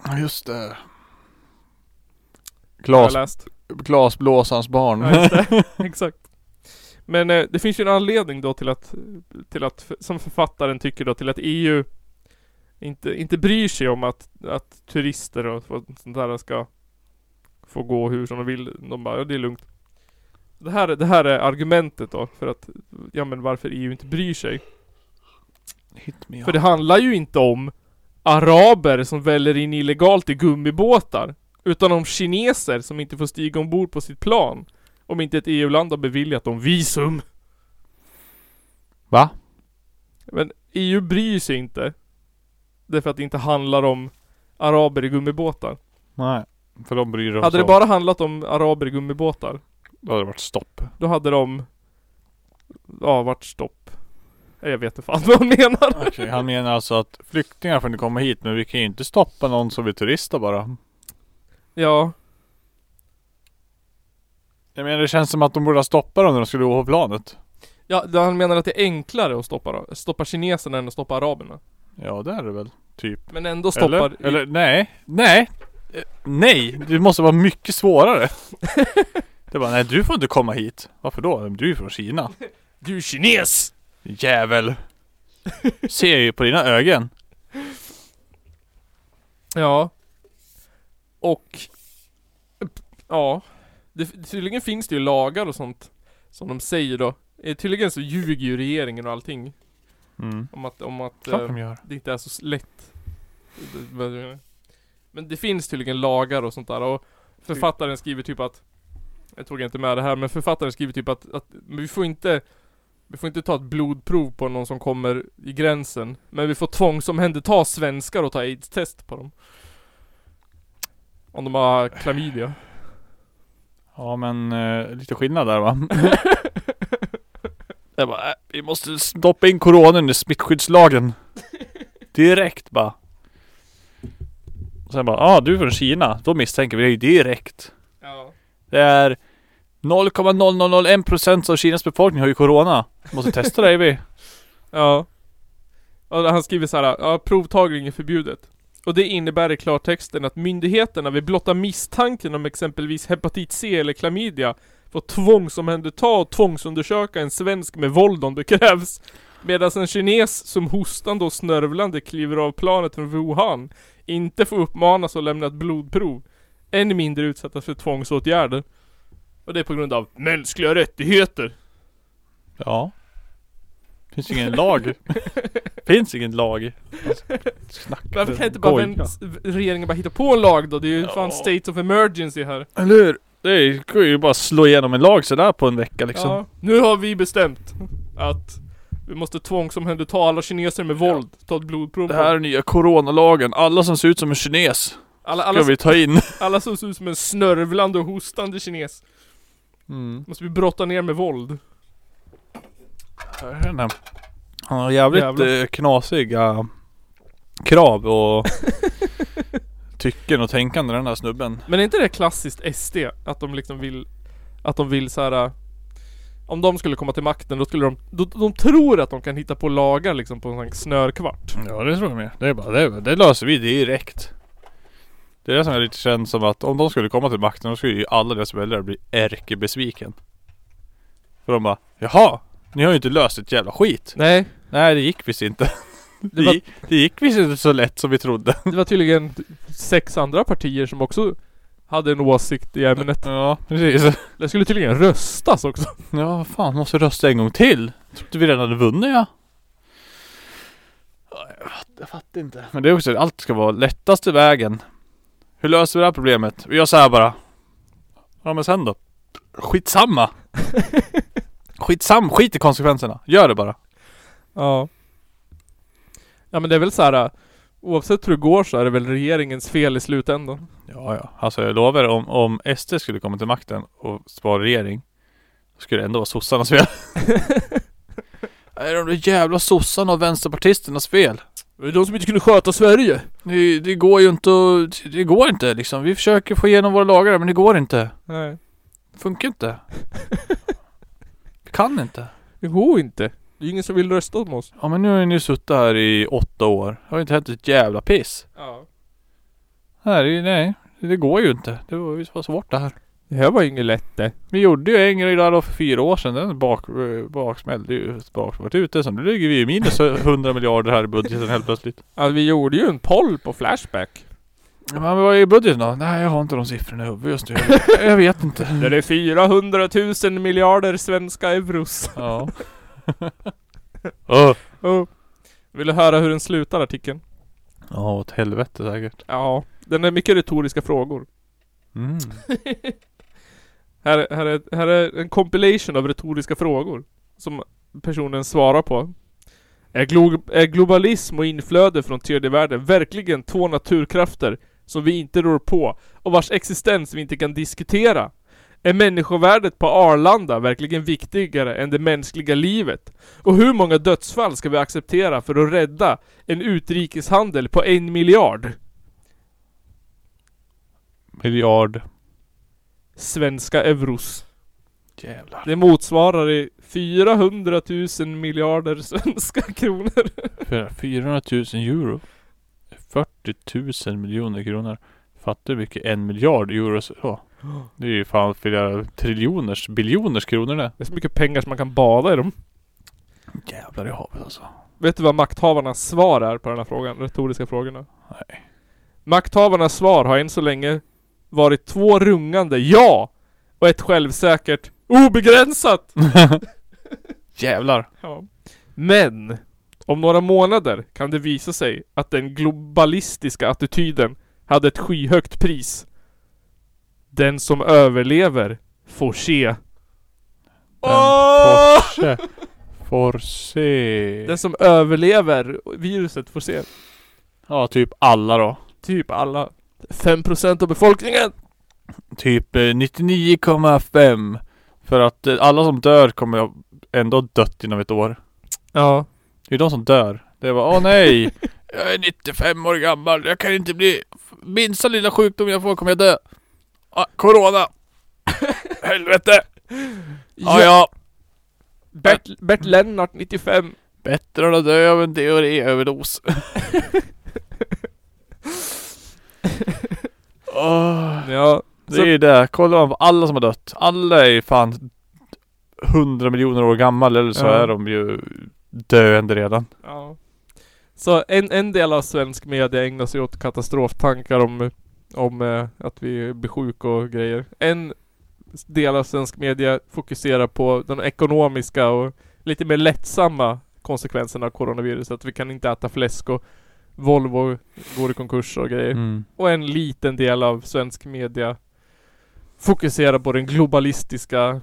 C: Ja just det.
B: Har jag
C: Glas,
B: läst.
C: glasblåsans barn.
B: Ja, just det. Exakt. Men eh, det finns ju en anledning då till att, till att, som författaren tycker då, till att EU inte, inte bryr sig om att, att turister och och sånt där ska få gå hur som de vill. De bara, ja det är lugnt. Det här, det här är argumentet då för att, ja men varför EU inte bryr sig.
C: Hit me
B: För det handlar ju inte om araber som väller in illegalt i gummibåtar. Utan om kineser som inte får stiga ombord på sitt plan. Om inte ett EU-land har beviljat dem visum.
C: Va?
B: Men EU bryr sig inte. Därför att det inte handlar om araber i gummibåtar.
C: Nej. För de bryr sig
B: Hade det
C: om-
B: bara handlat om araber i gummibåtar.
C: Då hade det varit stopp.
B: Då hade de... Ja, vart stopp. Nej, Jag vet inte fan vad han menar.
C: Okej, han menar alltså att flyktingar får inte komma hit men vi kan ju inte stoppa någon som vill turista bara.
B: Ja.
C: Jag menar det känns som att de borde ha stoppat dem när de skulle gå på planet.
B: Ja, då han menar att det är enklare att stoppa, stoppa kineserna än att stoppa araberna.
C: Ja det är det väl. Typ.
B: Men ändå stoppar...
C: Eller, eller nej. Nej. Eh, Nej. Det måste vara mycket svårare. det är bara nej du får inte komma hit. Varför då? Du är ju från Kina.
B: Du är kines!
C: Jävel. Ser jag ju på dina ögon.
B: Ja. Och... Ja. Det, tydligen finns det ju lagar och sånt. Som de säger då. Eh, Tydligen så ljuger ju regeringen och allting.
C: Mm.
B: Om att, om att
C: Klart
B: eh,
C: de gör.
B: det inte är så s- lätt. Det- vad det- Men det finns tydligen lagar och sånt där. Och författaren skriver typ att Jag tog inte med det här men författaren skriver typ att, att men vi får inte Vi får inte ta ett blodprov på någon som kommer i gränsen Men vi får tvångsomhänderta svenskar och ta aids-test på dem Om de har klamydia
C: Ja men eh, lite skillnad där va? Jag bara, äh, vi måste stoppa in coronan i smittskyddslagen. Direkt bara. Och sen bara, ja ah, du är från Kina. Då misstänker vi dig direkt.
B: Ja.
C: Det är 0,0001% av Kinas befolkning har ju corona. Måste testa dig vi.
B: Ja. Och han skriver så här, ja provtagning är förbjudet. Och det innebär i klartexten att myndigheterna vid blotta misstanken om exempelvis hepatit C eller klamydia får tvångsomhänderta och tvångsundersöka en svensk med våld om det krävs. Medan en kines som hostande och snörvlande kliver av planet från Wuhan inte får uppmanas att lämna ett blodprov. Än mindre utsättas för tvångsåtgärder. Och det är på grund av mänskliga rättigheter.
C: Ja. Finns ingen lag. Finns ingen lag. Snacka.
B: Varför kan inte bara
C: Goja.
B: vänt, regeringen bara hitta på en lag då? Det är ju fan state of emergency här.
C: Eller hur? Det går ju bara att slå igenom en lag sådär på en vecka liksom.
B: Ja, nu har vi bestämt att vi måste tvångsomhänderta alla kineser med våld. Ta ett blodprov
C: Det
B: på
C: här är
B: dem.
C: nya coronalagen. Alla som ser ut som en kines.
B: alla, alla,
C: ska vi ta in.
B: alla som ser ut som en snörvlande och hostande kines.
C: Mm.
B: Måste vi brotta ner med våld.
C: Den här- Han har jävligt
B: Jävlar.
C: eh, knasiga krav och tycken och tänkande den här snubben.
B: Men är inte det klassiskt SD? Att de liksom vill... Att de vill så här. äh, Om de skulle komma till makten då skulle de... Då, de tror att de kan hitta på lagar liksom på en sån här snörkvart.
C: Ja det tror jag med. Det är bara det, det löser vi direkt. Det är det som jag lite känner som att om de skulle komma till makten då skulle ju alla deras väljare bli ärkebesviken. För de bara Jaha! Ni har ju inte löst ett jävla skit.
B: Nej.
C: Nej det gick visst inte. Det,
B: var-
C: gick, det gick visst inte så lätt som vi trodde.
B: Det var tydligen sex andra partier som också hade en åsikt i ämnet.
C: Ja, precis.
B: Det skulle tydligen röstas också.
C: Ja vad fan, måste rösta en gång till. Trodde vi redan hade vunnit ja. Jag fattar inte. Men det är också att allt ska vara lättaste vägen. Hur löser vi det här problemet? Vi gör så här bara. Ja men sen då? Skitsamma! Skitsam, skit i konsekvenserna. Gör det bara.
B: Ja. Ja men det är väl så här. äh, Oavsett hur det går så är det väl regeringens fel i slutändan.
C: Ja, ja. Alltså jag lovar om, om SD skulle komma till makten och vara regering. Då skulle det ändå vara sossarnas fel. Är de där jävla sossarna och vänsterpartisternas fel?
B: Det är de som inte kunde sköta Sverige.
C: Det, det går ju inte att- Det går inte liksom. Vi försöker få igenom våra lagar men det går inte.
B: Nej.
C: Funkar inte. Vi kan inte.
B: Det går inte. Det är ingen som vill rösta om oss.
C: Ja men nu har ni suttit här i åtta år. Det har inte hänt ett jävla piss.
B: Ja.
C: Nej, det- nej. Det går ju inte. Det var ju så svårt det här.
B: Det här var inget lätt äh. det.
C: Vi gjorde ju en grej där då för fyra år sedan. Den bak, eh, baksmällde ju baksmällde ute. Så nu ligger vi ju minus 100 miljarder här i budgeten helt plötsligt.
B: Alltså vi gjorde ju en poll på Flashback.
C: Ja, Men vad är budgeten då? Nej jag har inte de siffrorna i huvudet just nu. Jag, jag vet inte.
B: Där det är 400 000 miljarder svenska euros.
C: Ja. Åh.
B: Oh. Vill du höra hur den slutar artikeln?
C: Ja åt helvete säkert.
B: Ja. Den är mycket retoriska frågor.
C: Mm.
B: Här, här, är, här är en compilation av retoriska frågor som personen svarar på. Är, glo är globalism och inflöde från tredje världen verkligen två naturkrafter som vi inte rår på och vars existens vi inte kan diskutera? Är människovärdet på Arlanda verkligen viktigare än det mänskliga livet? Och hur många dödsfall ska vi acceptera för att rädda en utrikeshandel på en miljard?
C: Miljard.
B: Svenska euros.
C: Jävlar.
B: Det motsvarar i 400 000 miljarder svenska kronor.
C: För 400 000 euro. 40 000 miljoner kronor. Fattar du mycket en miljard euro så. Det är ju fan flera triljoners, biljoners kronor det.
B: Det är så mycket pengar som man kan bada i dem.
C: Jävlar i havet alltså.
B: Vet du vad makthavarnas svar är på den här frågan? Retoriska frågorna. Nej. Makthavarnas svar har än så länge varit två rungande ja och ett självsäkert obegränsat.
C: Jävlar.
B: Ja. Men om några månader kan det visa sig att den globalistiska attityden hade ett skyhögt pris. Den som överlever får se. Åh!
C: Forse. Forse.
B: Den som överlever viruset får se.
C: Ja typ alla då.
B: Typ alla. 5% av befolkningen!
C: Typ eh, 99,5. För att eh, alla som dör kommer ha ändå ha dött inom ett år.
B: Ja.
C: Det är de som dör. Det var åh nej. Jag är 95 år gammal. Jag kan inte bli... Minsta lilla sjukdom jag får kommer jag dö. Ah, corona. Helvete. Ja, ja.
B: Bert, Bert Lennart 95.
C: Bättre än att dö av en DRE-överdos. ja, Ah, det är ju det. Kollar man på alla som har dött. Alla är ju fan 100 miljoner år gammal eller så
B: Ja.
C: är de ju döende redan.
B: Ja. Så en, en del av svensk media ägnar sig åt katastroftankar om, om eh, att vi blir sjuka och grejer. En del av svensk media fokuserar på de ekonomiska och lite mer lättsamma konsekvenserna av coronaviruset. Att vi kan inte äta fläsk och Volvo går i konkurs och grejer.
C: Mm.
B: Och en liten del av svensk media fokuserar på den globalistiska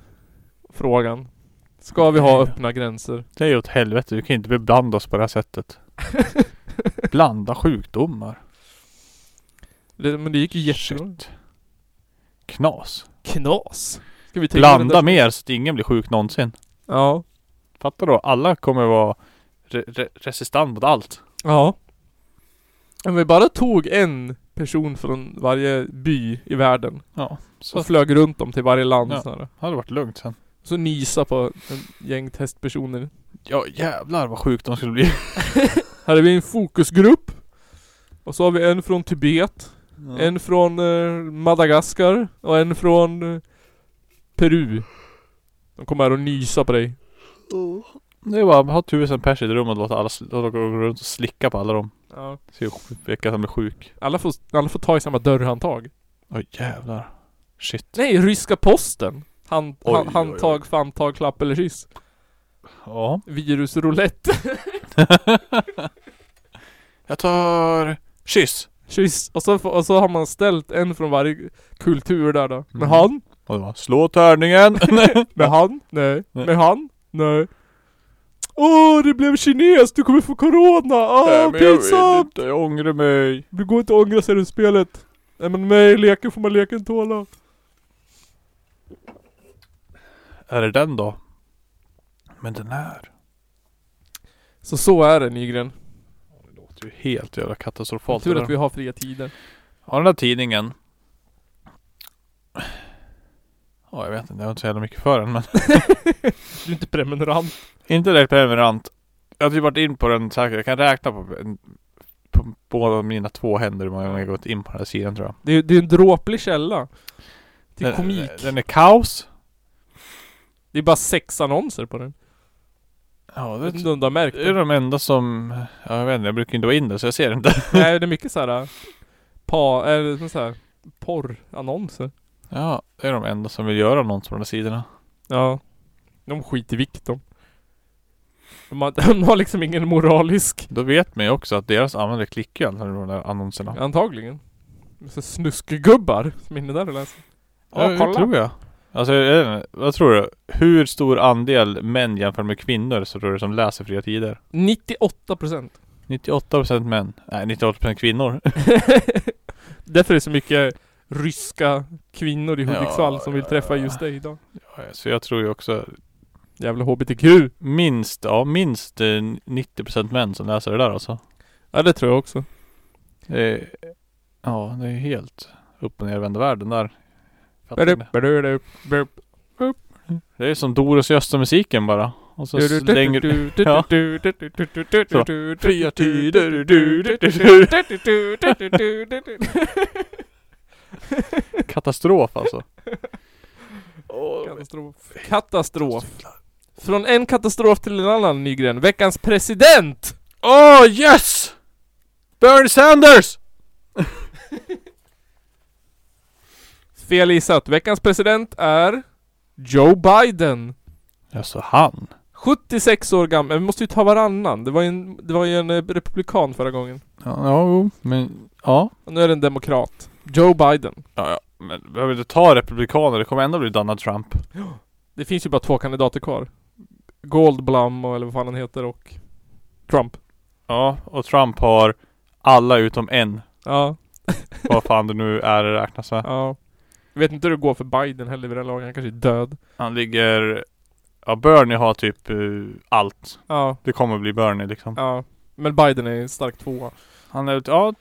B: frågan. Ska vi ha öppna gränser?
C: Det är ju åt helvete. Du kan inte beblanda oss på det här sättet. Blanda sjukdomar.
B: Det, men det gick ju jättebra.
C: Knas.
B: Knas. Ska vi ta in den
C: Blanda
B: där-
C: mer så att ingen blir sjuk någonsin.
B: Ja.
C: Fattar då? Alla kommer vara re- re- resistent mot allt.
B: Ja. Om vi bara tog en person från varje by i världen.
C: Ja.
B: Så flög runt dem till varje land.
C: Ja,
B: Ja. Sådär.
C: hade varit lugnt sen.
B: Så nisa på en gäng testpersoner.
C: Ja jävlar vad sjukt de skulle bli.
B: Här är vi en fokusgrupp. Och så har vi en från Tibet.
C: Ja.
B: En från eh, Madagaskar. Och en från eh, Peru. De kommer här och nysa på dig.
C: Det är bara att ha tusen pers i ett rum och låta alla sl- låta gå runt och slicka på alla dem.
B: Ja.
C: Se vilka som blir sjuk.
B: Alla får, alla får ta i samma dörrhandtag.
C: Oj jävlar. Shit.
B: Nej, ryska posten. Hand,
C: Oj,
B: han,
C: oj,
B: handtag, famntag, klapp eller kyss.
C: Ja.
B: Virusroulette.
C: Jag tar kyss.
B: Kyss. Och så, får- och så har man ställt en från varje kultur där då. Med
C: Mm.
B: han?
C: Och det var, slå tärningen.
B: Med han? Nej.
C: Nej.
B: Med han? Nej. Åh, det blev kines! Du kommer få corona!
C: Nej,
B: Åh,
C: men jag
B: pinsamt!
C: vet inte, Jag ångrar mig.
B: Du går inte att ångra sig ur spelet. Nej men mig, leken får man leken tåla.
C: Är det den då? Men den här.
B: Så så är det Nygren.
C: Det är ju helt jävla katastrofalt.
B: Tur
C: det
B: att
C: där.
B: vi har fria tider.
C: Ja, den där tidningen. Ja, jag vet inte. Jag har inte så jävla mycket för den men.
B: Du är inte prenumerant.
C: Inte direkt prenumerant. Jag har typ varit in på den säkert. Jag kan räkna på, på båda mina två händer hur många gånger jag gått in på den här sidan tror jag.
B: Det är, det är en dråplig källa. Till
C: Den-
B: komik.
C: Den är kaos.
B: Det är bara sex annonser på den.
C: Ja,
B: Jag vet inte om du har märkt
C: Det är
B: det.
C: de enda som... Ja, jag vet inte, jag brukar inte vara inne så jag ser inte.
B: Nej, det är mycket såhär... Pa... äh, Eller såhär... Porrannonser.
C: Ja, det är de enda som vill göra något på de där sidorna.
B: Ja. De skiter i vikt de. De har, de har liksom ingen moralisk...
C: Då vet man ju också att deras användare klickar ju antagligen på de där annonserna.
B: Antagligen. Det är Så snuskgubbar som är inne där och läser.
C: Ja, det tror jag. Alltså, jag vet inte, vad tror du? Hur stor andel män jämfört med kvinnor så tror du som läser Fria Tider?
B: 98%.
C: 98% män. Nej, 98% kvinnor.
B: Därför är det så mycket ryska kvinnor i Hudiksvall som vill träffa just dig idag.
C: Så jag tror ju också...
B: Jävla HBTQ!
C: Minst, ja minst eh, 90% män som läser det där alltså.
B: Ja, det tror jag också.
C: Eh, ja, det är helt upp och nervända världen där. Fattar
B: Berup,
C: inte.
B: berup, berup.
C: Det är som Doris Gösta-musiken bara. Och så slänger du... Ja. Så. Fria tider, du, du, du, du. Katastrof alltså.
B: Katastrof. Katastrof. Från en katastrof till en annan Nygren. Veckans president!
C: Åh oh, yes! Bernie Sanders!
B: Fel gissat. Veckans president är Joe Biden.
C: Alltså han.
B: 76 år gammal. Men Vi måste ju ta varannan. Det var ju en, det var ju en eh, republikan förra gången.
C: Ja, ja, jo, men ja.
B: Och nu är det en demokrat. Joe Biden.
C: Ja, ja. Men behöver inte ta republikaner, det kommer ändå bli Donald Trump.
B: Det finns ju bara två kandidater kvar. Goldblum och eller vad fan han heter och Trump.
C: Ja, och Trump har alla utom en.
B: Ja.
C: Vad fan det nu är det räknas med.
B: Ja. Jag vet inte hur det går för Biden heller vid det här laget. Han kanske är död.
C: Han ligger... Ja, Bernie har typ eh, allt.
B: Ja.
C: Det kommer bli Bernie liksom.
B: Ja. Men Biden är en stark tvåa.
C: Han är... Ja,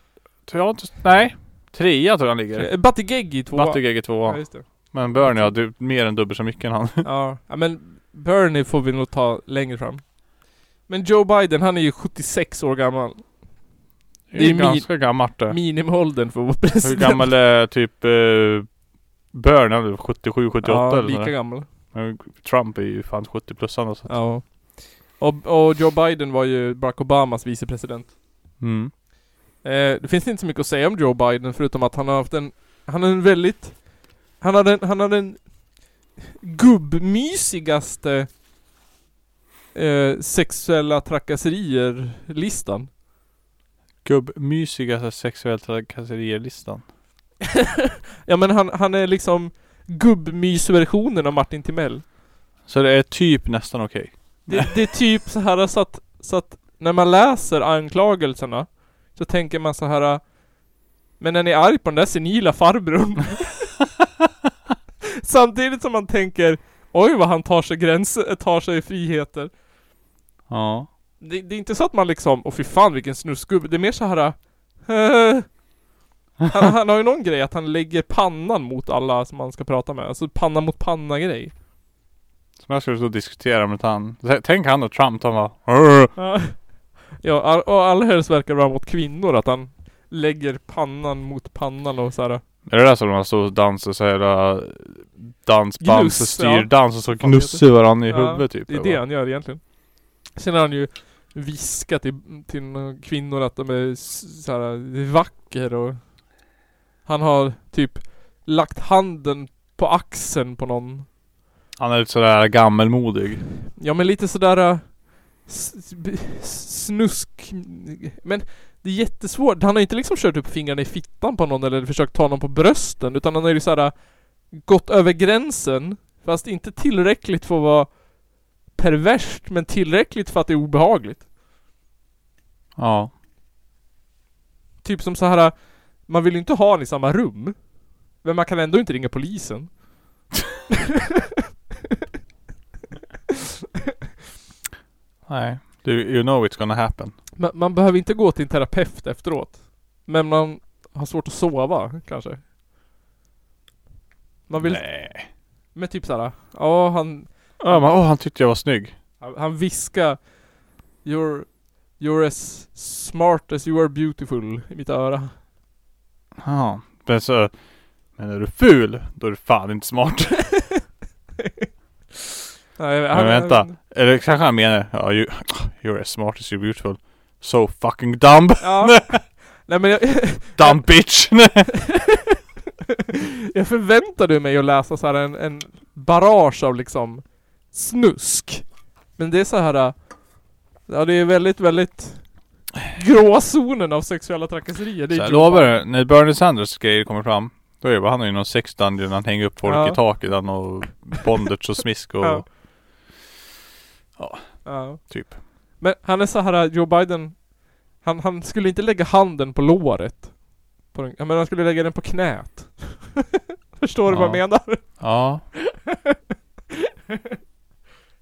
C: ja, nej. Trea tror jag han ligger.
B: Eh, Buttigieg är tvåa.
C: Buttigieg är tvåa.
B: Ja, just det.
C: Men Bernie har du, mer än dubbelt så mycket än han.
B: Ja. ja, men Bernie får vi nog ta längre fram. Men Joe Biden, han är ju 76 år gammal.
C: Det är ganska gammalt eh. det.
B: Minimiåldern för att vara
C: Hur
B: president.
C: gammal är typ uh, Byrne? 77, 78
B: Ja,
C: eller
B: lika
C: sådär.
B: gammal.
C: Men Trump är ju fan 70 plus han alltså.
B: Ja. Och, och Joe Biden var ju Barack Obamas vicepresident.
C: Mm.
B: Eh, det finns inte så mycket att säga om Joe Biden förutom att han har haft en, han har en väldigt, han hade en, han hade en gubbmysigaste eh, sexuella trakasserier-listan.
C: Gubbmysiga sexuellt trakasserier-listan.
B: Ja men han, han är liksom gubbmysversionen av Martin Timell.
C: Så det är typ nästan okej.
B: Det, det är typ så här så att, så att när man läser anklagelserna så tänker man så här Men är ni arg på den där senila farbrorn? Samtidigt som man tänker Oj vad han tar sig gränser, tar sig friheter.
C: Ja.
B: Det, det är inte så att man liksom, åh fy fan vilken snusgubbe. Det är mer så här. "Eh." Han, han har ju någon grej att han lägger pannan mot alla som man ska prata med. Alltså panna mot panna grej.
C: Som jag skulle stå och diskutera med han. Tänk han och Trump, han bara
B: Ja. Ja, all- och allra helst verkar det vara mot kvinnor att han lägger pannan mot pannan och så här.
C: Är det där som man står och dansar så jävla dansband
B: Gnuss,
C: så
B: ja.
C: styr dans och så
B: Fan, vad
C: gnusser
B: heter det?
C: varandra i
B: Ja,
C: huvudet typ.
B: Det är
C: eller
B: det
C: vad?
B: han gör egentligen. Sen har han ju viskat till, till några kvinnor att de är s- så här, vacker och han har typ lagt handen på axeln på någon.
C: Han är lite sådär gammelmodig.
B: Ja men lite sådär äh, s- b- snusk. Men det är jättesvårt. Han har inte liksom kört upp fingrarna i fittan på någon eller försökt ta någon på brösten utan han har ju såhär äh, gått över gränsen. Fast inte tillräckligt för att vara perverst men tillräckligt för att det är obehagligt.
C: Ja.
B: Typ som så här äh, man vill ju inte ha den i samma rum. Men man kan ändå inte ringa polisen.
C: Nej. Du, you know it's gonna happen.
B: Man, man behöver inte gå till en terapeut efteråt. Men man har svårt att sova kanske. Man vill...
C: Nej.
B: Men typ såhär, ja han...
C: Ja men åh han tyckte jag var snygg.
B: Han, han viskar You're... You're as smart as you are beautiful i mitt öra.
C: Ja. Men så. Men är du ful, då är du fan inte smart.
B: Nej,
C: men vänta. Eller kanske han menar, ja you, you're as smart as you're beautiful. So fucking dumb.
B: Ja. Nej men jag...
C: dumb bitch.
B: jag förväntade mig att läsa så här en, en barrage av liksom snusk. Men det är så här. äh, Ja det är väldigt, väldigt gråzonen av sexuella trakasserier. Det är
C: Så jag
B: ju-
C: lovar dig, när Bernie Sanders grejer kommer fram Då är det bara, han har ju någon sex dungeon, han hänger upp folk
B: Ja.
C: i taket han och bondage och smisk och
B: Ja.
C: ja.
B: Ja.
C: typ
B: Men han är så här äh, Joe Biden han, han skulle inte lägga handen på låret. På den, ja, men han skulle lägga den på knät. Förstår du vad jag
C: Ja.
B: menar?
C: Ja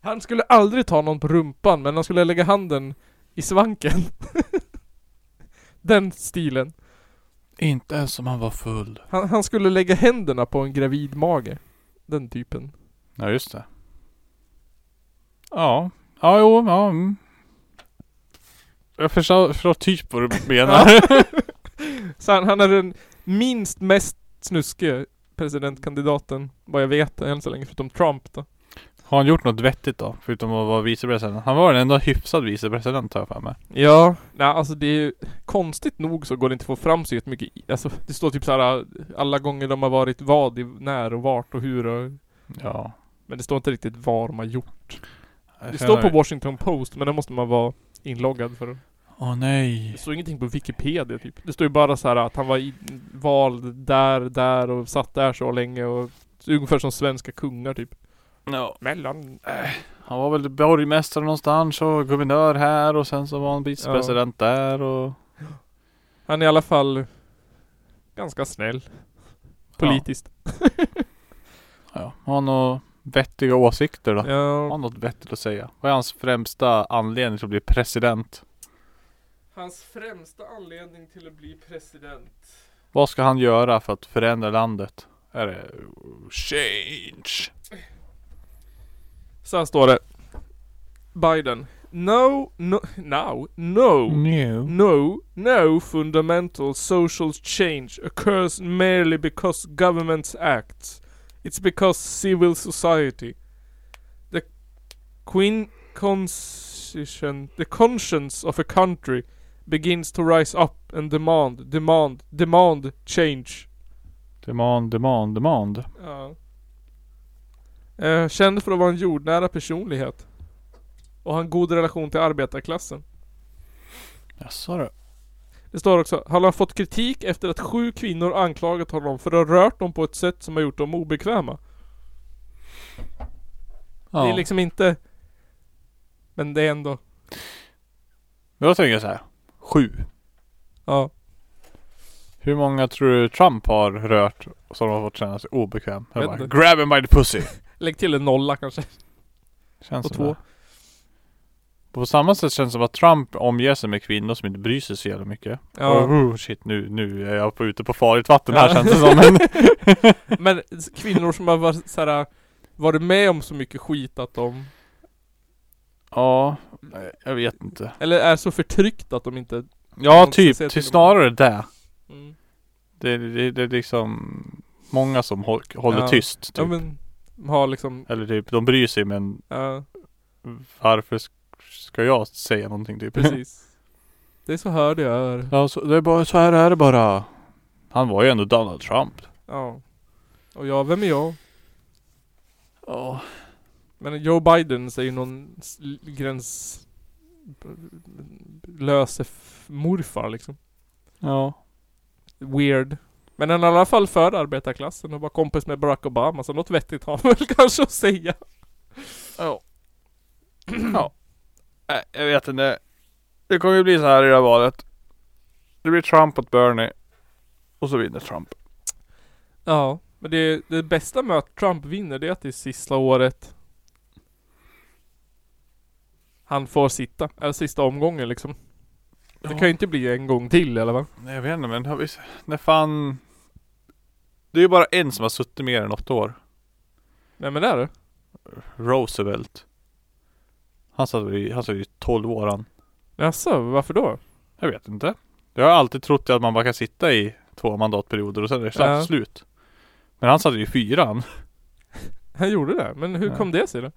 B: Han skulle aldrig ta någon på rumpan men han skulle lägga handen i svanken. Den stilen.
C: Inte ens som han var full
B: Han, han skulle lägga händerna på en gravid mage. Den typen.
C: Ja just det Ja, ja jo, ja mm. Jag förstår, förstår typ vad du menar
B: Ja. så han, han är den minst mest snuskige presidentkandidaten vad jag vet än så länge förutom Trump då.
C: Har han gjort något vettigt då? Förutom att vara vicepresident? Han var den enda hyfsad vicepresident har jag för mig
B: Ja, nej alltså det är ju konstigt nog så går det inte att få fram så mycket Alltså det står typ så här alla gånger de har varit vad, i, när och vart och hur och
C: Ja
B: Men det står inte riktigt vad de har gjort. Det
C: Jag
B: står på
C: känner-
B: Washington Post men det måste man vara inloggad för.
C: Åh nej
B: Det står ingenting på Wikipedia typ. Det står ju bara så här att han var i, vald där, där och satt där så länge och så ungefär som svenska kungar typ.
C: Ja.
B: Mellan...
C: Han var väl borgmästare någonstans och guvernör här och sen så var han vicepresident där och...
B: Han är i alla fall ganska snäll. Politiskt.
C: Ja, har han några vettiga åsikter då?
B: Ja.
C: Har han något vettigt att säga? Vad är hans främsta anledning till att bli president?
B: Hans främsta anledning till att bli president.
C: Vad ska han göra för att förändra landet? Är det... Change!
B: Så här står det. Biden. No, no, now, no,
C: No.
B: no, no fundamental social change occurs merely because governments act. It's because civil society, the queen conscience, the conscience of a country, begins to rise up and demand, demand, demand change.
C: Demand, demand, demand.
B: Ja. Eh, känd för att vara en jordnära personlighet. Och ha en god relation till arbetarklassen.
C: Jaså du.
B: Det står också, han har fått kritik efter att sju kvinnor anklagat honom för att ha rört dem på ett sätt som har gjort dem obekväma. Det
C: Ja.
B: är liksom inte... Men det är ändå...
C: Men då tänker jag så här. Sju.
B: Ja.
C: Hur många tror du Trump har rört som har fått känna sig obekväm? Jag
B: Vet
C: bara,
B: inte.
C: Grab him by the pussy.
B: Lägg till en nolla kanske.
C: Känns
B: Och
C: som
B: två.
C: det. På samma sätt känns det som att Trump omger sig med kvinnor som inte bryr sig så jävla mycket.
B: Ja.
C: Och, oh, shit, nu, nu är jag på, ute på farligt vatten här känns det som. Men
B: Men s- kvinnor som har varit såhär, varit med om så mycket skit att de...
C: Ja, nej, jag vet inte.
B: Eller är så förtryckta att de inte...
C: Ja,
B: de ska
C: typ.
B: se
C: Till
B: dem.
C: snarare det.
B: Mm.
C: Det, det, det är liksom många som håll, håller
B: Ja.
C: tyst. Typ.
B: Ja men, har liksom...
C: Eller typ, de bryr sig men
B: Ja.
C: varför sk- ska jag säga någonting typ?
B: Precis. Det är så här det är.
C: ja, så, det är bara, så här är det bara. Han var ju ändå Donald Trump.
B: Ja. Och jag, vem är jag?
C: Ja.
B: Men Joe Biden säger någon s- l- gräns... b- b- Löse f- morfar liksom.
C: Ja.
B: Weird. Men han är i alla fall för arbetarklassen och var kompis med Barack Obama så något vettigt har han väl kanske att säga.
C: Ja. ja. Nej, jag vet inte. Det kommer ju bli så här i det här valet. Det blir Trump mot Bernie. Och så vinner Trump.
B: Ja. Men det, det bästa med att Trump vinner det är att det är sista året han får sitta. Eller sista omgången liksom. Det
C: Ja.
B: kan ju inte bli en gång till eller vad?
C: Nej jag vet inte men har vi... När fan... Det är ju bara en som har suttit mer än åtta år.
B: Nej men det är det.
C: Roosevelt. Han satt väl i, han satt ju i 12 år han.
B: Jaså, varför då?
C: Jag vet inte. Jag har alltid trott att man bara kan sitta i två mandatperioder och sen är det
B: Ja.
C: slut. Men han satt ju i fyran.
B: Han gjorde det? Men hur
C: Nej.
B: kom det sig då?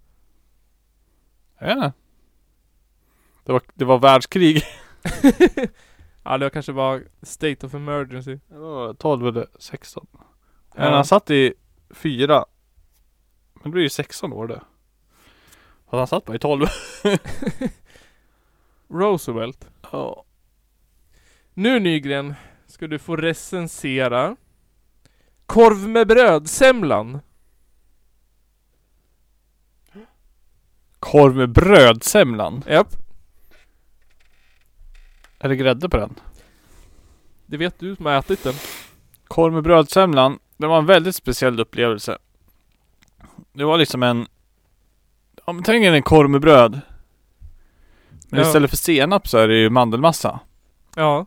C: Jag vet inte. Det var, det var världskrig.
B: Ja det kanske var State of Emergency.
C: Det var 12 eller 16.
B: Ja.
C: Men han satt i fyra. Men det blir ju 16 år det. Fast han satt bara i 12.
B: Roosevelt.
C: Ja.
B: Nu Nygren, ska du få recensera Korv med bröd-semlan.
C: Korv med brödsemlan.
B: Japp.
C: Är det grädde på den?
B: Det vet du som har ätit den.
C: Korv med brödsemlan. Det var en väldigt speciell upplevelse. Det var liksom en... Ja men tänk er en korv med bröd. Men
B: Ja.
C: istället för senap så är det ju mandelmassa.
B: Ja.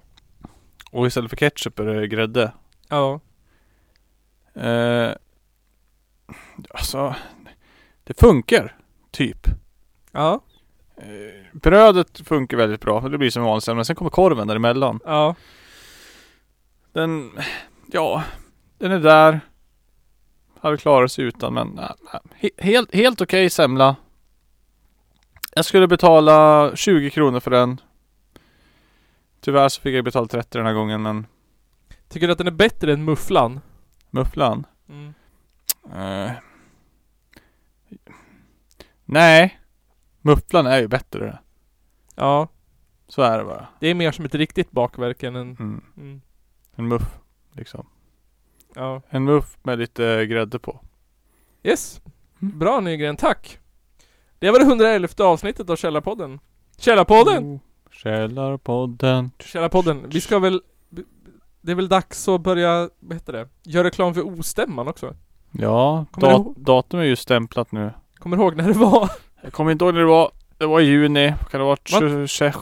C: Och istället för ketchup är det grädde.
B: Ja.
C: Eh, alltså, det funkar. Typ.
B: Ja.
C: Brödet funkar väldigt bra. Det blir som vanligt. Men sen kommer korven däremellan.
B: Ja.
C: Den, ja, den är där. Hade klarat sig utan men nej, nej. He- helt, helt okej semla. Jag skulle betala 20 kronor för den. Tyvärr så fick jag betala 30 den här gången men
B: Tycker du att den är bättre än mufflan?
C: mufflan.
B: Mm.
C: Eh. Nej. Mufflan är ju bättre.
B: Ja.
C: Så är det bara.
B: Det är mer som ett riktigt bakverk än en...
C: Mm.
B: Mm.
C: En muff liksom.
B: Ja.
C: En muff med lite grädde på.
B: Yes. Bra Nygren, tack. Det var det 111 avsnittet av Källarpodden. Källarpodden!
C: Källarpodden.
B: Källarpodden. Vi ska väl... Det är väl dags att börja, vad heter det? Göra reklam för ostämman också.
C: Ja,
B: Kommer
C: dat-
B: du ihåg?
C: datum är ju stämplat nu.
B: Kommer du ihåg när det var?
C: Jag kommer inte ihåg när det var. Det var i juni. Kan det ha varit
B: Va?
C: 26,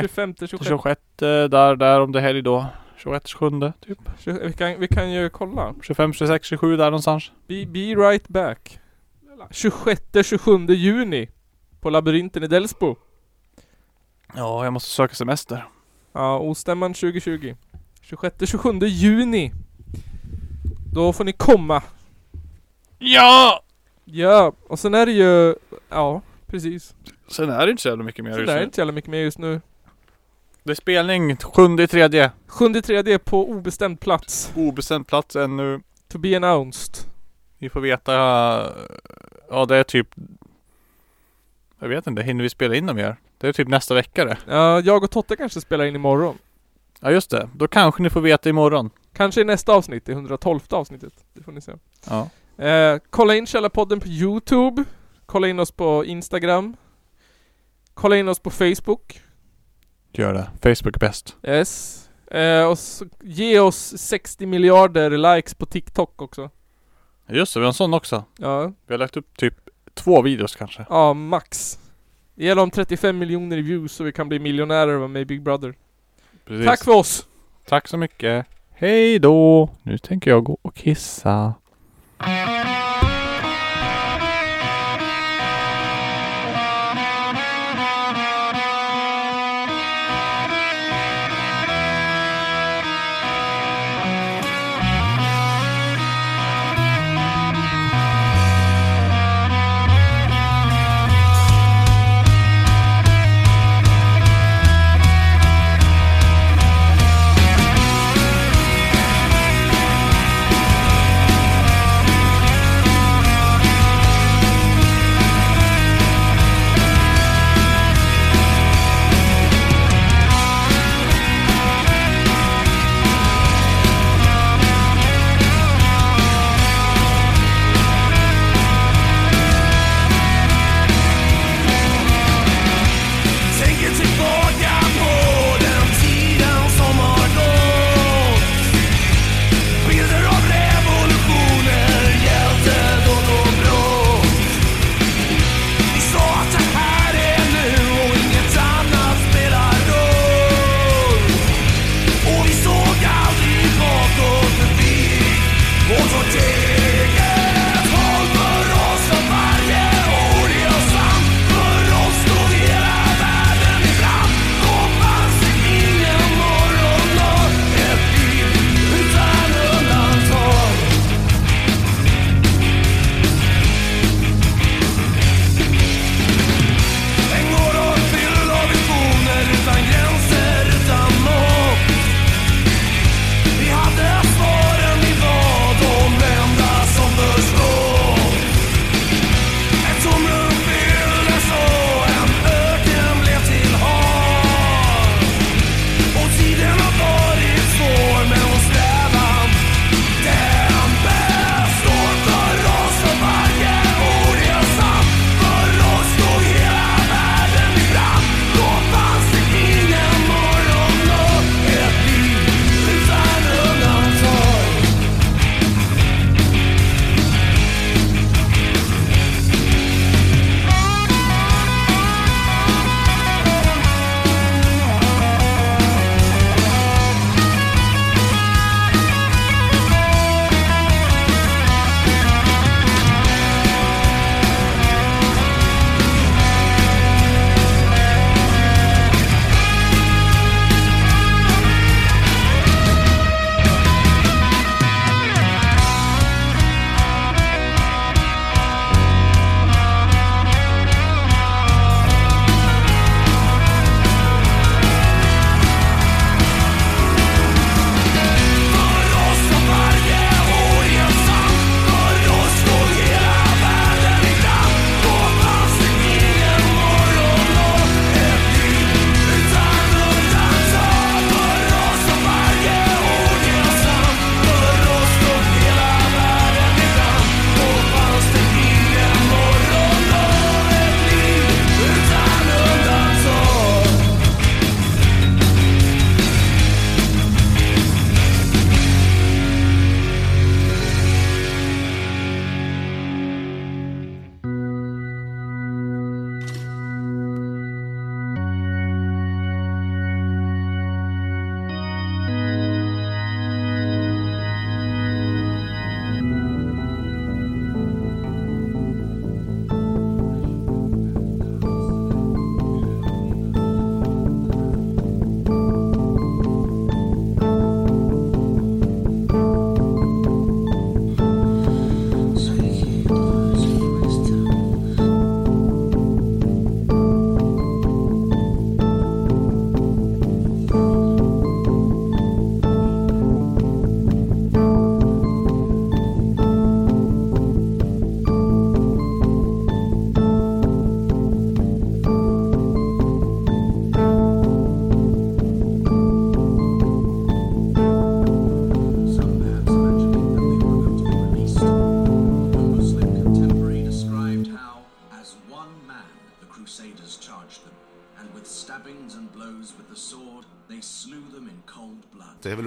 B: 25, 26.
C: 26, där, där om det är helg då. 21, 27 typ.
B: Tjo- Vi kan, vi kan ju kolla.
C: 25, 26, 27 där någonstans.
B: Be, be right back. 26-27 juni. På labyrinten i Delsbo.
C: Ja, jag måste söka semester.
B: Ja, ostämman 2020. 26-27 juni. Då får ni komma.
C: Ja!
B: Ja, och sen är det ju... Ja, precis.
C: Sen är det inte så jävla mycket mer
B: Så
C: just
B: det är
C: nu.
B: inte så jävla mycket mer just nu.
C: Det är spelning 7 i tredje.
B: 7 tredje på obestämd plats.
C: Obestämd plats ännu.
B: To be announced.
C: Vi får veta... eh, Ja, det är typ... Jag vet inte, hinner vi spela in dem mer? Det är typ nästa vecka det.
B: Ja, jag och Totte kanske spelar in imorgon.
C: Ja, just det. Då kanske ni får veta imorgon.
B: Kanske i nästa avsnitt, i 112 avsnittet. Det får ni se.
C: Ja.
B: Eh, kolla in Källarpodden på Youtube. Kolla in oss på Instagram. Kolla in oss på Facebook.
C: Gör det. Facebook är bäst.
B: Yes. Eh, och så, ge oss 60 miljarder likes på TikTok också.
C: Just det, vi har en sån också.
B: Ja.
C: Vi har lagt upp typ två videos kanske.
B: Ja, max. Det gäller om 35 miljoner views så vi kan bli miljonärer och vara med i Big Brother.
C: Precis.
B: Tack för oss!
C: Tack så mycket. Hej då! Nu tänker jag gå och kissa.
D: stabbings and blows with the sword, they slew them in cold blood.
E: Det är väl